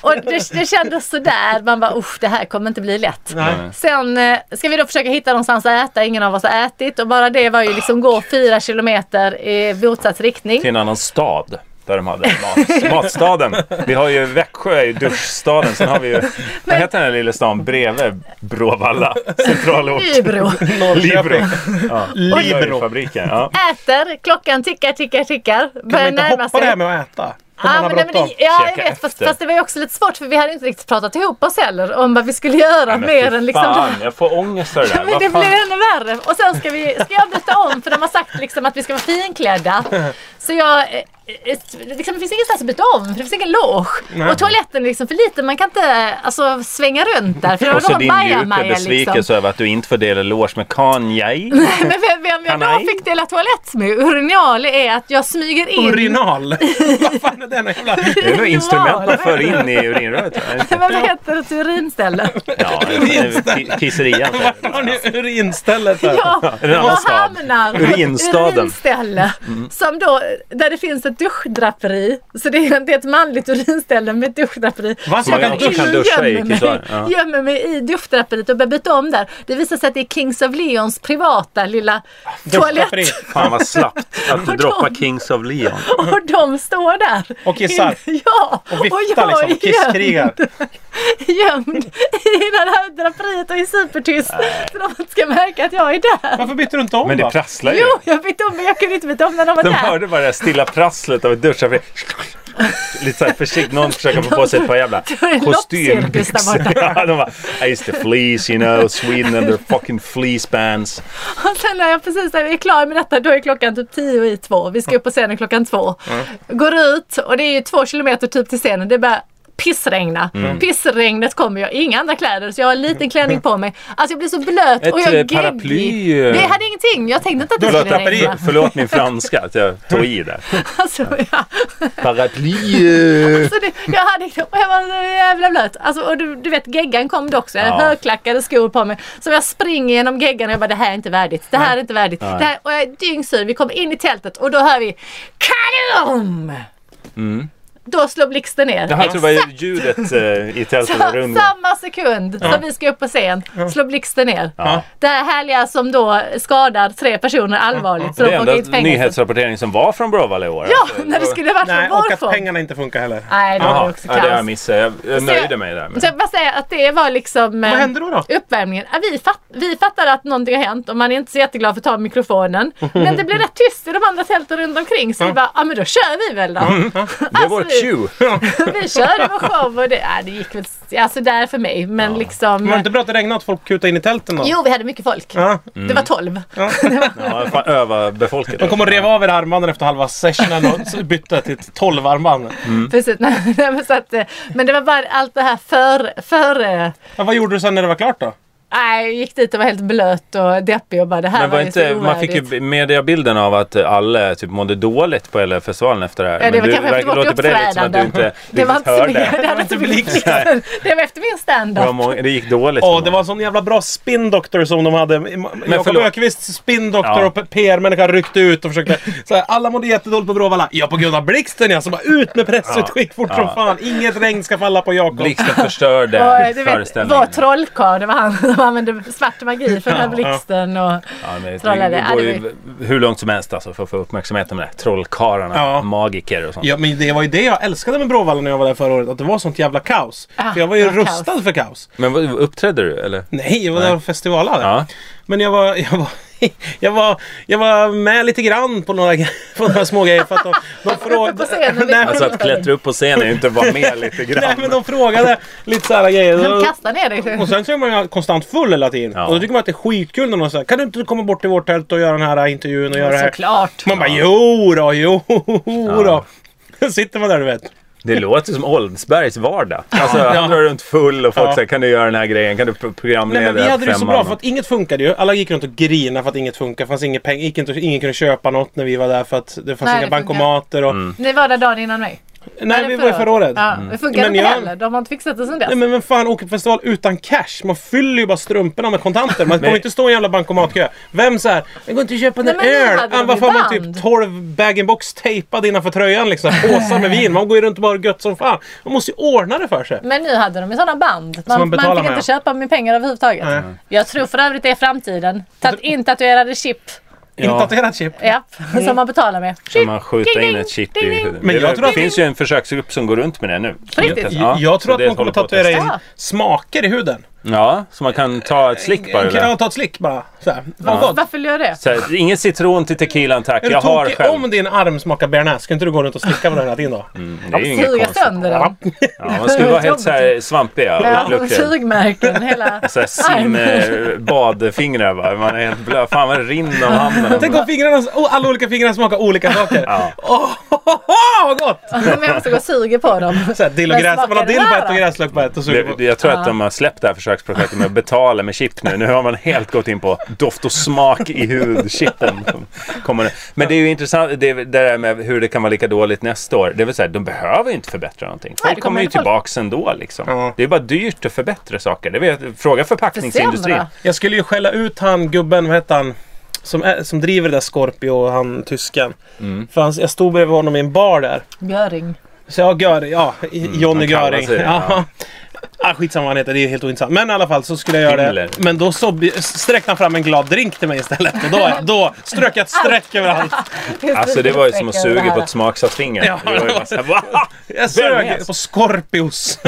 S2: Och det, det kändes sådär. Man bara, usch det här kommer inte bli lätt.
S1: Nej.
S2: Sen eh, ska vi då försöka hitta någonstans att äta. Ingen av oss har ätit. Och bara det var ju liksom gå fyra kilometer i motsatt riktning.
S3: Till en annan stad. där de hade mat, matstaden. Vi har ju Växjö i duschstaden. Sen har vi ju, vad heter den där lilla stan bredvid Bråvalla? Centralort.
S2: Nybro.
S3: Libro. Ja,
S1: Libro.
S3: Fabriken. Ja.
S2: Äter, klockan tickar, tickar, tickar.
S1: Kan man
S2: Börjar
S1: inte
S2: närma
S1: hoppa det här
S2: sig.
S1: med att äta? För man
S2: Ja,
S1: har
S2: men, nej, men
S1: bråttom.
S2: det, ja, jag
S3: Käka
S2: vet. Fast,
S3: efter.
S2: fast det var ju också lite svårt för vi hade inte riktigt pratat ihop oss heller om vad vi skulle göra
S3: Men
S2: mer
S3: fy
S2: än liksom
S3: fan, jag får ångest av det där.
S2: Men
S3: Vad
S2: det
S3: fan?
S2: blir ännu värre. Och sen ska, vi, ska jag byta om för de har sagt liksom att vi ska vara finklädda. Så jag... eh, eh, Liksom, det finns ingenstans att byta om för det finns ingen loge.
S1: Nej.
S2: Och toaletten är liksom för liten. Man kan inte alltså, svänga runt där. För det var
S3: Och så
S2: då
S3: din djupa
S2: bajamaja
S3: besvikelse
S2: liksom.
S3: över att du inte får dela loge med Kanye.
S2: Men vem, vem jag
S3: Kan
S2: då
S3: jag?
S2: fick dela toalett med urinal är att jag smyger in...
S1: Urinal? Vad fan är det? Någon jävla...
S3: Det är nog instrument man
S2: Urinal.
S3: för in i urinröret. va?
S2: Men Vad heter ett urinställe?
S3: Ja, ki- alltså. Pizzerian.
S1: Vart har ni urinstället? här?
S2: Ja,
S3: Är det en annan
S2: jag
S3: stad?
S2: hamnar på
S3: Urinstaden. Mm.
S2: urinställe. Som då, där det finns ett duschdraperi. Så det är, det är ett manligt urinställe med ett duschdraperi.
S1: Va?
S2: Så
S1: Man
S2: jag
S1: också
S3: kan duscha i
S2: gömmer
S3: Kisar,
S2: mig,
S3: ja.
S2: gömmer mig i duschdraperiet och börjar byta om där. Det visar sig att det är Kings of Leons privata lilla toalett.
S1: Duschdraperi.
S3: Fan vad slappt att
S2: Pardon.
S3: droppa Kings of Leon.
S2: Och de står där.
S1: Och kissar.
S2: In- ja.
S1: Och viftar
S2: jag är
S1: liksom. Kisskrigar.
S2: gömd i det här draperiet och är supertyst. Så de inte ska märka att jag är där.
S1: Varför bytte du inte om
S3: Men det
S1: då?
S3: prasslar ju.
S2: Jo, jag bytte om men jag kunde inte byta om när de var
S3: De
S2: där.
S3: hörde bara det här stilla prasslet av ett duschdraperi. Lite såhär försiktigt, någon försöker få på sig ett par jävla
S2: var en loppcirkus där
S3: kostymbyxor.
S2: borta.
S3: Ja, de bara, I used to fleece you know, Sweden and their fucking fleece bands.
S2: Och sen när jag precis när vi är klara med detta, då är klockan typ tio i två. Vi ska upp på scenen klockan två. Går ut och det är ju två kilometer typ till scenen. Det är bara pissregna.
S3: Mm.
S2: Pissregnet kommer jag, inga andra kläder så jag har en liten klänning på mig. Alltså jag blir så blöt
S3: Ett,
S2: och jag
S3: eh,
S2: är geggig.
S3: paraply, eh.
S2: Nej, jag hade ingenting. Jag tänkte inte att det
S1: Blöt
S2: skulle
S1: draperi.
S2: regna.
S3: Förlåt min franska att jag tog i där.
S2: Alltså, ja.
S3: Paraply.
S2: Så det, jag hade inte, och jag var så jävla blöt. Alltså, och du, du vet geggan kom då också. Jag hade
S3: Ja.
S2: högklackade skor på mig. Så jag springer genom geggan och jag bara det här är inte värdigt. Det här är inte värdigt. Det här, och jag är dyngsur. Vi kommer in i tältet och då hör vi KADOOM! Då slår blixten ner.
S3: Jag tror Mm. det var ljudet eh, i tältet
S2: Så,
S3: var rundgång.
S2: samma sekund som vi ska upp på scen slår blixten ner.
S3: Ja.
S2: Det här härliga som då skadar tre personer allvarligt. Så
S3: Det
S2: de får
S3: är
S2: inte
S3: enda
S2: fängelse.
S3: nyhetsrapportering som var från Bråvalla i år.
S2: Ja,
S3: alltså.
S2: när det skulle varit från
S1: Nej, och att
S2: Borgfors.
S1: pengarna inte funkar heller.
S2: Nej, det var
S3: Jaha,
S2: ju också
S3: ja, det har
S2: kaos.
S3: jag missat. Jag, jag
S2: Så jag-
S3: nöjde mig där. med.
S2: Så jag bara säga att det var liksom
S1: Vad
S2: eh,
S1: hände då? då?
S2: uppvärmningen. Ja, Vi, fatt, vi fattar att någonting har hänt och man är inte så jätteglad för att ta mikrofonen. Men det blir rätt tyst i de andra tälten runt omkring så vi bara, ja men då kör vi väl då.
S3: Det var vår
S2: alltså,
S3: cue.
S2: Vi körde vår show och det, ja, det gick väl alltså där för mig. Men liksom.
S1: Men var det inte bra att det regnade att folk kutade in i tälten då?
S2: Jo vi hade mycket folk.
S1: Ja.
S2: Det var 12.
S3: Ja, fan, överbefolkat.
S1: De kom och rev av er armbanden efter halva sessionen och så bytte till ett 12 armband.
S3: Mm.
S2: Precis. Nej, nej, men, så att, eh, men det var bara allt det här för, för eh,
S1: Ja, vad gjorde du sen när det var klart då?
S2: nej, jag gick dit och var helt blöt och deppig och bara det här
S3: Men
S2: var,
S3: var
S2: ju så
S3: inte, man fick
S2: ovärdigt.
S3: ju mediebilden av att alla typ mådde dåligt på LF-festivalen efter det här.
S2: Ja, det
S3: Men
S2: var
S3: du
S2: kanske efter
S3: verkar-
S2: vårt
S3: låter på dig lite som att du
S2: uppträdande.
S3: inte
S2: Det var
S3: riktigt
S2: inte så mycket.
S3: hörde.
S2: Det, hade inte blivit blixten. det var efter min
S3: Det, var
S2: standup.
S3: många, det gick dåligt.
S1: Ja,
S3: för många.
S1: det var en sån jävla bra spin doctor som de hade. Jakob
S3: förlåt.
S1: Ökvists spin doctor
S3: Ja.
S1: och PR-människa ryckte ut och försökte. Så här, alla mådde jättedåligt på Bråvalla. Ja, på grund av blixten ja. Så bara ut med pressutskick fort som
S3: Ja.
S1: fan. Inget regn ska falla på Jakob.
S3: Blixten förstörde
S2: Och, eh, du vet,
S3: föreställningen.
S2: var trollkarl, det var han som använde svart magi för den här
S1: Ja,
S2: blixten. Och,
S3: Ja, men det,
S2: Trollade.
S3: det
S2: Ja,
S3: går
S2: det
S3: ju hur långt som helst alltså för att få uppmärksamheten med det. här. Trollkarlarna,
S1: Ja.
S3: magiker och sånt.
S1: Ja men det var ju det jag älskade med Bråvalla när jag var där förra året, att det var sånt jävla kaos.
S2: Ah,
S1: för jag var ju
S2: det var
S1: rustad för kaos.
S3: Men vad- uppträdde du eller?
S1: Nej, jag var
S3: Nej.
S1: där och festivalade.
S3: Ja.
S1: Men jag var, jag, var, jag, var, jag var med lite grann på några, gre- på några små grejer för att de, de
S2: Uppe på
S1: frågade...
S2: scenen, vilket-
S1: Nej,
S3: Alltså att klättra upp på scenen är ju inte att vara med lite grann.
S1: nej men de frågade lite sådana grejer.
S2: de kastade ner dig.
S1: Och sen så är man ju konstant full hela tiden.
S3: Ja.
S1: Och då tycker man att det är skitkul när någon säger Kan du inte komma bort till vårt tält och göra den här intervjun och göra det här?
S2: Såklart.
S1: Man bara jo då, jo då. Sitter man där du vet.
S3: Det låter som Oldsbergs vardag. Alltså, han drar runt full och folk
S1: Ja.
S3: säger kan du göra den här grejen? Kan du pro- programleda
S1: Nej, men vi hade det så
S3: femman?"
S1: bra för att inget funkade ju. Alla gick runt och grinade för att inget funkade. Fanns inga pengar, gick inte, ingen kunde köpa något när vi var där för att det fanns
S2: Nej,
S1: inga
S2: det funkar.
S1: bankomater. Och...
S3: Mm.
S2: Ni var där dagen innan mig.
S1: Nej,
S2: Eller
S1: vi var ju förra året.
S2: Ja, det funkar
S1: Men
S2: inte
S1: jag-
S2: heller. De har inte fixat det sedan dess.
S1: Nej men vem fan åker på festival utan cash? Man fyller ju bara strumporna med kontanter. Man kommer
S3: Nej.
S1: inte stå i en jävla bankomatkö. Vem såhär, det går inte att köpa en
S2: Nej, men nu
S1: öl.
S2: hade
S1: Ah,
S2: de
S1: Vad
S2: ju
S1: fan man
S2: band.
S1: typ 12 bag-in-box tejpad innanför tröjan liksom. Påsar med vin. Man går ju runt och bara gött som fan. Man måste ju ordna det för sig.
S2: Men nu hade de ju sådana band. Man,
S1: man
S2: man,
S1: betalar
S2: fick
S1: med.
S2: inte köpa med pengar överhuvudtaget. Jag tror för övrigt det är framtiden. Tat, intatuerade chip.
S1: Inplanterat chip.
S2: Ja, som man betalar med.
S3: Kan
S2: Chip.
S3: man skjuta
S2: Ding,
S3: in
S2: ding,
S3: ett chip
S2: ding,
S3: i
S2: ding.
S3: huvudet?
S1: Men
S3: Det
S1: jag
S3: är-
S1: tror
S3: det
S1: att-
S3: finns ju en försöksgrupp som går runt med det nu. Som
S2: riktigt?
S3: testar.
S1: Ja, jag tror
S3: så
S1: att
S3: det
S1: man
S3: håller
S1: kommer
S3: på att
S1: tatuera in
S3: testas.
S2: testa.
S1: smaker i huden.
S3: Ja, så man kan ta ett slick bara.
S1: Kan
S3: där.
S1: jag ta ett slick bara? Så här. Vad gott.
S2: Varför gör jag det?
S3: Så här, ingen citron till tequilan tack,
S1: Är
S3: jag
S1: du
S3: har
S1: tokig
S3: själv. Mm.
S1: om din arm smakar bearnaise? Ska inte du gå runt och slicka på den hela tiden då?
S3: Det är ju inget
S2: Suga
S3: konstigt.
S2: sönder den.
S3: Ja, man skulle vara helt så här svampig. Ja,
S2: Ja,
S3: uppluckrad.
S2: sugmärken hela...
S3: så här sim, eh, badfingrar va. Man är helt blöt. Fan vad det rinner om handen.
S1: Tänk om fingrarna, oh, alla olika fingrar smakar olika saker.
S3: Ja.
S1: Åh, vad gott!
S2: Men jag måste gå och suga på dem.
S1: Så här, dill och
S2: Men
S1: gräs. Man har
S2: smakar
S1: dill
S2: det
S1: på
S2: där
S1: ett och
S2: då?
S1: gräslök på ett och suger
S3: Det,
S1: på.
S3: jag tror att de har släppt det här försöksprojektet med att betala med chip nu. Nu har man helt gått in på doft och smak i hudchippen. som kommer. Men det är ju intressant det, det där med hur det kan vara lika dåligt nästa år. Det är väl så här, de behöver ju inte förbättra någonting. Folk kommer
S2: det kommer
S3: ju
S2: inte folk-
S3: tillbaks ändå liksom.
S1: Ja.
S3: Det är bara dyrt att förbättra saker. Det vet, fråga förpackningsindustrin.
S2: Försämra.
S1: Jag skulle ju skälla ut han gubben, vad heter han? Som, är, som driver det där Scorpio, han tysken.
S3: Mm.
S1: För han, jag stod bredvid honom i en bar där.
S2: Göring.
S1: Så jag gör, ja, i- Johnny
S3: Mm, han kallar
S1: Göring.
S3: sig det,
S1: Ja.
S3: ja.
S1: Ah, skitsamma vad han heter, det är helt ointressant. Men i alla fall så skulle jag göra
S3: Himmler.
S1: det. Men då så, sträckte han fram en glad drink till mig istället. Och då, då strök jag ett streck över allt.
S3: Alltså det var ju som att suga på ett smaksatt finger.
S1: Ja.
S3: Det var ju bara så här, "Va?"
S1: Jag
S3: Vem är det?
S1: sög på Scorpios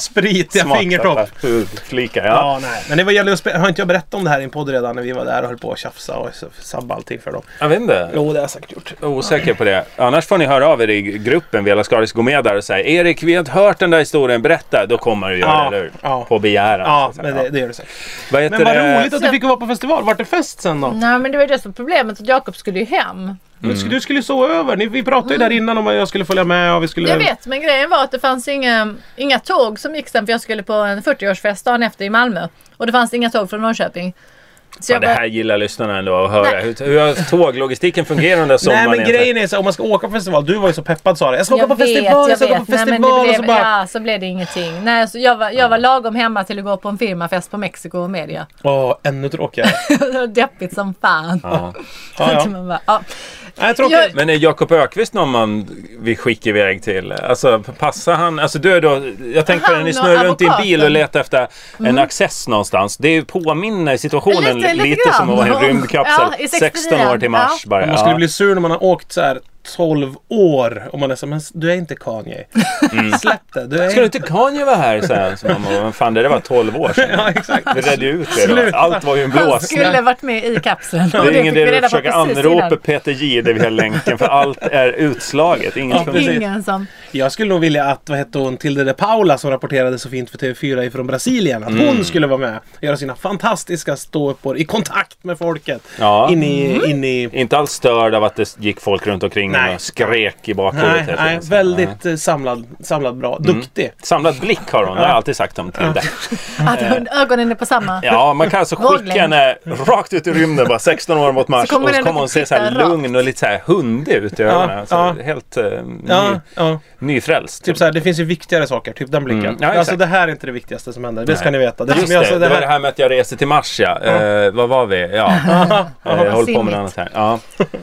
S1: spritiga
S3: Smaksatta
S1: fingertopp.
S3: Hudflikar, ja.
S1: Ja, nej. Men det var gäller att spe- Har inte jag berättat om det här i en podd redan när vi var där och höll på att tjafsa och s- sabba allting för dem?
S3: Jag vet inte.
S1: Jo, det har jag säkert gjort.
S3: Jag är Osäker på det. Annars får ni höra av er i gruppen Vela Skaris. Gå med där och säg Erik, vi har inte hört den där historien. Berätta. Då kommer du göra
S1: Ja,
S3: det, eller hur?
S1: ja.
S3: På begäran.
S1: Ja,
S3: så att
S1: men
S3: säga.
S1: det, det gör det säkert.
S3: Vad heter
S1: Men vad
S3: det?
S1: roligt att du fick vara på festival. Vart det fest sen då?
S2: Nej men det var ju det som var problemet att Jakob skulle ju hem.
S1: Du skulle- Du skulle ju sova över. Ni- Vi pratade ju där innan om att jag skulle följa med och vi skulle...
S2: Mm. Jag vet men grejen var att det fanns inga, inga tåg som gick sen för jag skulle på en 40-årsfest dagen efter i Malmö. Och det fanns inga tåg från Norrköping. Så
S3: Ja,
S2: jag
S3: det
S2: bara,
S3: här gillar lyssnarna ändå att höra.
S2: Nej.
S3: Hur, hur har tåglogistiken fungerat under sommaren?
S1: Nej men
S3: egentligen?
S1: grejen är så här, om man ska åka på festival. Du var ju så peppad Sara. Jag ska åka
S2: jag
S1: på
S2: vet,
S1: festival, jag ska åka
S2: vet.
S1: på
S2: Nej, men det
S1: festival. och så
S2: blev-
S1: bara...
S2: Ja, så blev det ingenting. Nej, så jag, var, jag var lagom hemma till att gå på en firmafest på Mexiko och media.
S1: Åh, ännu tråkigare.
S2: Det var Deppigt som fan.
S3: Ja.
S1: Ja, ja.
S2: Man bara, ja.
S1: Nej, tråkigt.
S3: Men är Jakob Ökvist någon man vi skickar iväg till? Alltså passar han? Alltså du är då, jag tänkte på
S2: Han
S3: när ni
S2: och
S3: snurrar runt i en bil och
S2: advokaten. Mm.
S3: letar efter en access någonstans. Det påminner situationen lite,
S2: Lite- lite grann.
S3: som att vara i en rymdkapsel.
S2: Ja, i
S3: 16 år till Mars
S2: ja.
S3: bara.
S1: Man skulle
S3: ja.
S1: bli sur när man har åkt så här 12 år och man är så men du är inte Kanye.
S3: Mm.
S1: Släpp det. Du är
S3: Ska du inte Kanye vara här? Sen? Så mamma, men fan det där var 12 år sedan.
S1: Ja, exakt.
S3: Vi redde ut det då.
S1: Sluta.
S3: Allt var ju en
S2: Han
S3: blås.
S2: skulle varit med i kapseln.
S3: Det är ingen idé att försöka anropa
S2: anropa
S3: Peter Jihde via länken för allt är utslaget. Ingen
S1: Ja,
S3: som
S1: precis.
S2: Ingen som...
S1: Jag skulle nog vilja att, vad hette hon, Tilde de Paula som rapporterade så fint för TV4 ifrån Brasilien, att
S3: Mm.
S1: hon skulle vara med och göra sina fantastiska ståuppor i kontakt med folket.
S3: Ja.
S1: In i... In i
S3: Inte alls störd av att det gick folk runt omkring
S1: Nej.
S3: och skrek i bakhuvudet.
S1: nej,
S3: hela
S1: nej,
S3: tiden.
S1: väldigt eh, samlad, samlad bra.
S3: Mm.
S1: Duktig.
S3: Samlad blick har hon, det har jag alltid sagt om Tilde.
S2: Att hon, ögonen är på samma.
S3: Eh. Ja, man kan alltså skicka
S2: Våglängd.
S3: henne rakt ut i rymden, bara 16 år mot Mars.
S2: Så kommer
S3: och så
S2: den
S3: kommer hon
S2: att
S3: se så här
S2: titta rakt.
S3: lugn och lite så här hundig ut i ögonen. så
S1: ja.
S3: Helt eh, ny,
S1: Ja, ja.
S3: nyfrälst.
S1: Typ såhär, det finns ju viktigare saker. Typ den blicken.
S3: Mm. Ja, exakt.
S1: alltså det här är inte det viktigaste som händer. Det ska ni veta.
S3: Just
S1: som jag
S3: det,
S1: sa,
S3: det, var det här med att jag reser till Mars ja. Eh, vad var vi? Ja, eh, jag håller på med
S2: Simmigt.
S3: något annat här. Ja.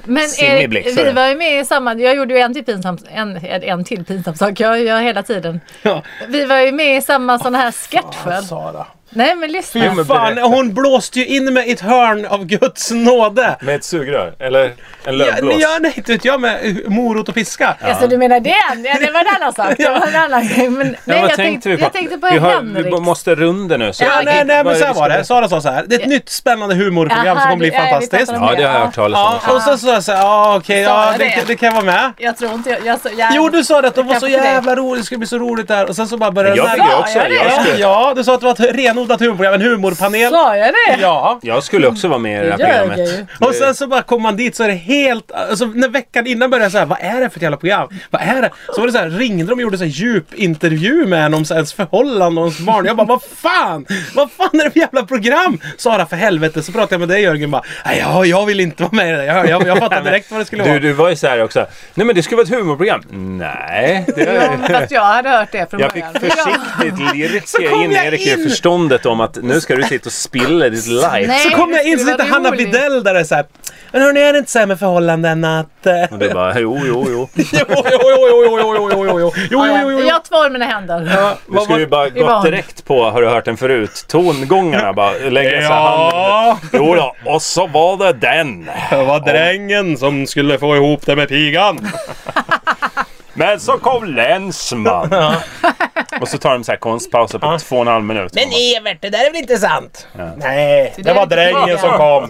S2: Men
S3: Simmig
S2: Erik,
S3: blick, sorry.
S2: vi var ju med i samma, jag gjorde ju en till pinsam, en, en till pinsam sak, jag gör hela tiden.
S1: Ja.
S2: Vi var ju med i samma sån här sketcher.
S1: Sara.
S2: Nej men lyssna.
S1: Fy fan,
S3: berätta.
S1: hon blåste ju in mig i ett hörn av Guds nåde.
S3: Med ett sugrör? Eller en
S1: Ja,
S3: lövblås?
S1: ja, nej, inte vet jag med eh, morot och piska.
S2: Alltså du menar den? Ja, det var en annan sak. Det var en annan grej. Men, nej,
S3: Ja, vad
S2: jag, tänkte,
S3: vi på?
S2: jag tänkte på
S3: vi, har,
S2: Henrik.
S3: vi måste runda nu. Så
S2: Ja,
S1: Ja,
S3: jag-
S1: nej, nej,
S3: vad
S1: men
S3: är
S1: så
S3: vi
S1: här
S3: ska
S1: var det.
S3: berätta?
S1: Sara sa så här. Det är ett nytt spännande humorprogram som
S2: Aha,
S1: kommer bli
S2: det- ja, vi
S1: fantastiskt.
S2: pratar om
S3: Ja, det har jag hört talas om.
S1: Ja, och så sa jag så här, ja okej, ja,
S2: Sa
S1: det,
S2: det?
S1: kan- det kan jag vara med.
S2: Jag tror inte jag... jag, så- jag
S1: Jo, du sa det att de var så
S2: Kanske till dig.
S1: jävla roligt, det skulle bli så roligt där. Och sen så bara började
S3: Jag
S1: det
S3: tycker
S1: här-
S2: Ja,
S3: också.
S2: ja, det är
S3: Jag
S1: Ja,
S3: skulle,
S1: ja, du sa att det var ett renodlat humorprogram, en humorpanel.
S2: Sa jag det?
S1: Ja.
S3: jag skulle också vara med i det här
S2: Det gör jag
S3: programmet.
S2: ju.
S1: Och sen så bara kom man dit så är det helt, alltså när veckan innan började jag så här, vad är det för ett jävla program? Vad är det? Så var det så här, ringde de och gjorde så här djupintervju med en om så här, ens förhållande och ens barn. Jag bara, vad fan! Vad fan är det för jävla program? Sara, för helvete. Så pratade jag med dig Jörgen bara, nej jag, jag vill inte vara med i det där. jag, jag, jag fattade direkt vad det skulle
S3: Du,
S1: vara.
S3: du var ju så här också. Nej men det skulle vara ett humorprogram. Nej. Det,
S2: Ja, men Fast jag hade hört det från
S3: jag fick
S2: början.
S3: försiktigt lirka
S1: kom
S3: in
S1: jag
S3: Erik i
S1: in.
S3: motståndet om att nu ska du sitta och spilla ditt life.
S2: Nej.
S1: Så kom jag in
S2: det
S1: så
S2: skulle
S1: sitter
S2: vara
S1: Hanna
S2: roligt.
S1: Widell där och så här. Men hörni, är det inte så här med förhållanden att... eh,
S3: Och du bara, jo, jo, jo.
S1: jo, jo, jo, jo, jo, jo, jo, jo, jo, jo,
S2: Ja,
S1: jo, jo,
S2: ja.
S1: jo.
S2: Jag tvår mina händer.
S1: Ja,
S3: Du
S1: vad
S3: skulle ju
S1: var-
S3: bara gått
S2: Ivan.
S3: direkt på, har du hört den förut, tongångarna bara. Lägga så här handen.
S1: Ja,
S3: Jo då, och så var det den.
S1: det var drängen som skulle få ihop det med pigan.
S3: Men så kom länsman. Och så tar de så här konstpauser på två och en halv minut. Man bara,
S1: Evert, det där är väl inte sant? Nej, det
S2: där
S1: var
S2: är inte
S1: drängen
S2: pigan.
S1: som kom.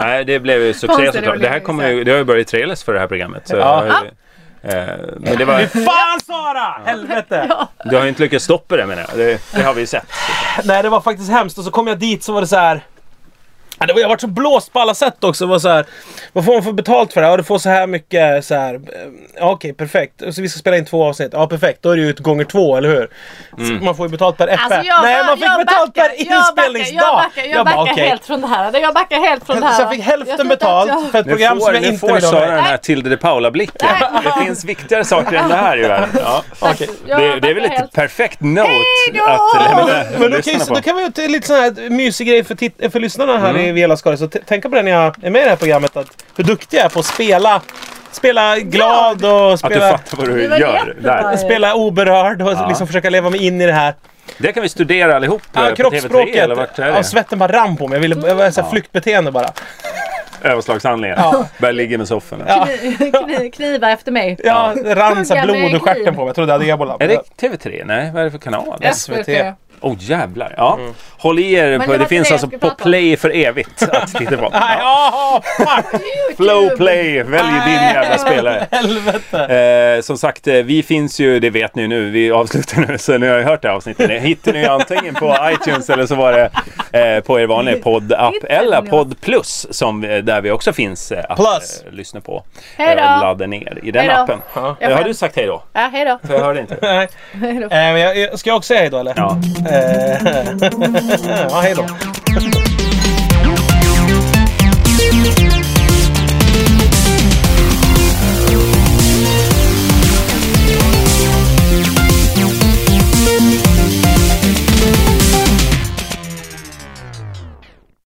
S3: Nej, det blev ju succé
S2: Konstigt
S3: såklart.
S2: rolig
S3: Det här kommer ju, det har ju börjat trailers för det här programmet. Så
S1: Ja.
S3: jag har ju, eh, men det var,
S1: Fan Sara! Helvete!
S3: du har ju inte lyckats stoppa det menar jag. Det, det har vi ju sett.
S1: Nej, det var faktiskt hemskt. Och så kom jag dit så var det så här. Ja, det var, jag varit så blåst på alla sätt också. Det var så här, vad får man för betalt för det här? Ja, du får så här mycket så här. eh, Ja, okej, perfekt. Så vi ska spela in två avsnitt. Ja, perfekt. Då är det ju ett gånger två, eller hur? Så Man får ju betalt per FF.
S2: Alltså jag,
S1: Nej,
S2: jag,
S1: man fick
S2: jag
S1: betalt
S2: backar,
S1: per
S2: jag backar,
S1: inspelningsdag.
S2: Jag backar, jag
S1: bara,
S2: backar
S1: okej.
S2: helt från det här. Alltså, Jag backar helt från det här.
S1: Så jag fick
S2: tyckte
S1: hälften
S2: att
S1: betalt
S2: jag-
S1: för ett
S3: Nu
S1: program
S3: får,
S1: som jag
S3: nu
S1: inte
S3: får
S1: vill ha
S3: Sara
S1: med.
S3: den här Tilde de Paula-blicken.
S2: Nej.
S3: Det finns viktigare saker än det här i världen. Ja.
S1: Okej.
S2: Jag
S3: Det, det är väl
S2: backar
S3: ett
S2: helt.
S3: perfekt note
S2: Hej då!
S3: att lämna
S1: Men då kan, ju,
S3: lyssnarna på. Mm.
S1: då kan vi göra ett- lite sån här mysig grej för, tit- för lyssnarna här i Velaskare. Så t- tänka på det när jag är med i det här programmet. Att hur duktig jag är på att spela, spela glad och
S3: Att du
S1: spela,
S3: fattar vad du
S2: Det var
S3: gör.
S2: jättebra.
S3: Där.
S1: spela oberörd och liksom försöka leva mig in i det här.
S3: Det kan vi studera allihop eh,
S1: Ja,
S3: på TV3
S1: kroppsspråket.
S3: eller vart är
S1: ja,
S3: det?
S1: svetten bara rann på mig. Jag ville jag var så här flyktbeteende bara.
S3: Överslagshandlingar. Börja ligga med soffan.
S2: Kni- Knivar efter mig.
S1: Ja, det rann så här
S2: Tugga med
S1: blod ur stjärten på
S2: kniv.
S1: mig. Jag trodde jag hade ebola.
S3: Är det TV3? Nej, vad är det för kanal?
S1: SVT.
S3: Åh oh, jävlar. Ja. Håll i er. På,
S2: det
S3: det
S2: var
S3: finns
S2: det jag
S3: alltså
S2: skulle
S3: på
S2: prata om.
S3: play för evigt att titta på.
S1: Nej,
S3: Ja.
S1: ja, fuck!
S3: Flow play. Välj din
S1: Nej.
S3: jävla spelare.
S1: Helvete!
S3: Eh, som sagt, eh, vi finns ju, det vet ni ju nu, vi avslutar nu, så nu har jag hört det här avsnittet. Det hittar ni ju antingen på iTunes eller så var det eh, på er vanliga poddapp
S2: Hittar ni
S3: eller
S2: oss?
S3: podd plus, som, eh, där vi också finns eh, att
S1: Plus.
S3: eh, lyssna på.
S2: Hej då.
S3: Eh, och ladda ner i den
S2: Hej då.
S3: appen.
S1: Ja.
S3: Eh, har du sagt hej då?
S2: Ja, hej då.
S3: För jag hörde inte.
S1: Nej.
S2: Hej då.
S1: Eh, men jag- jag- Ska jag också säga hej då eller?
S3: Ja.
S1: Eh, ja, hej då.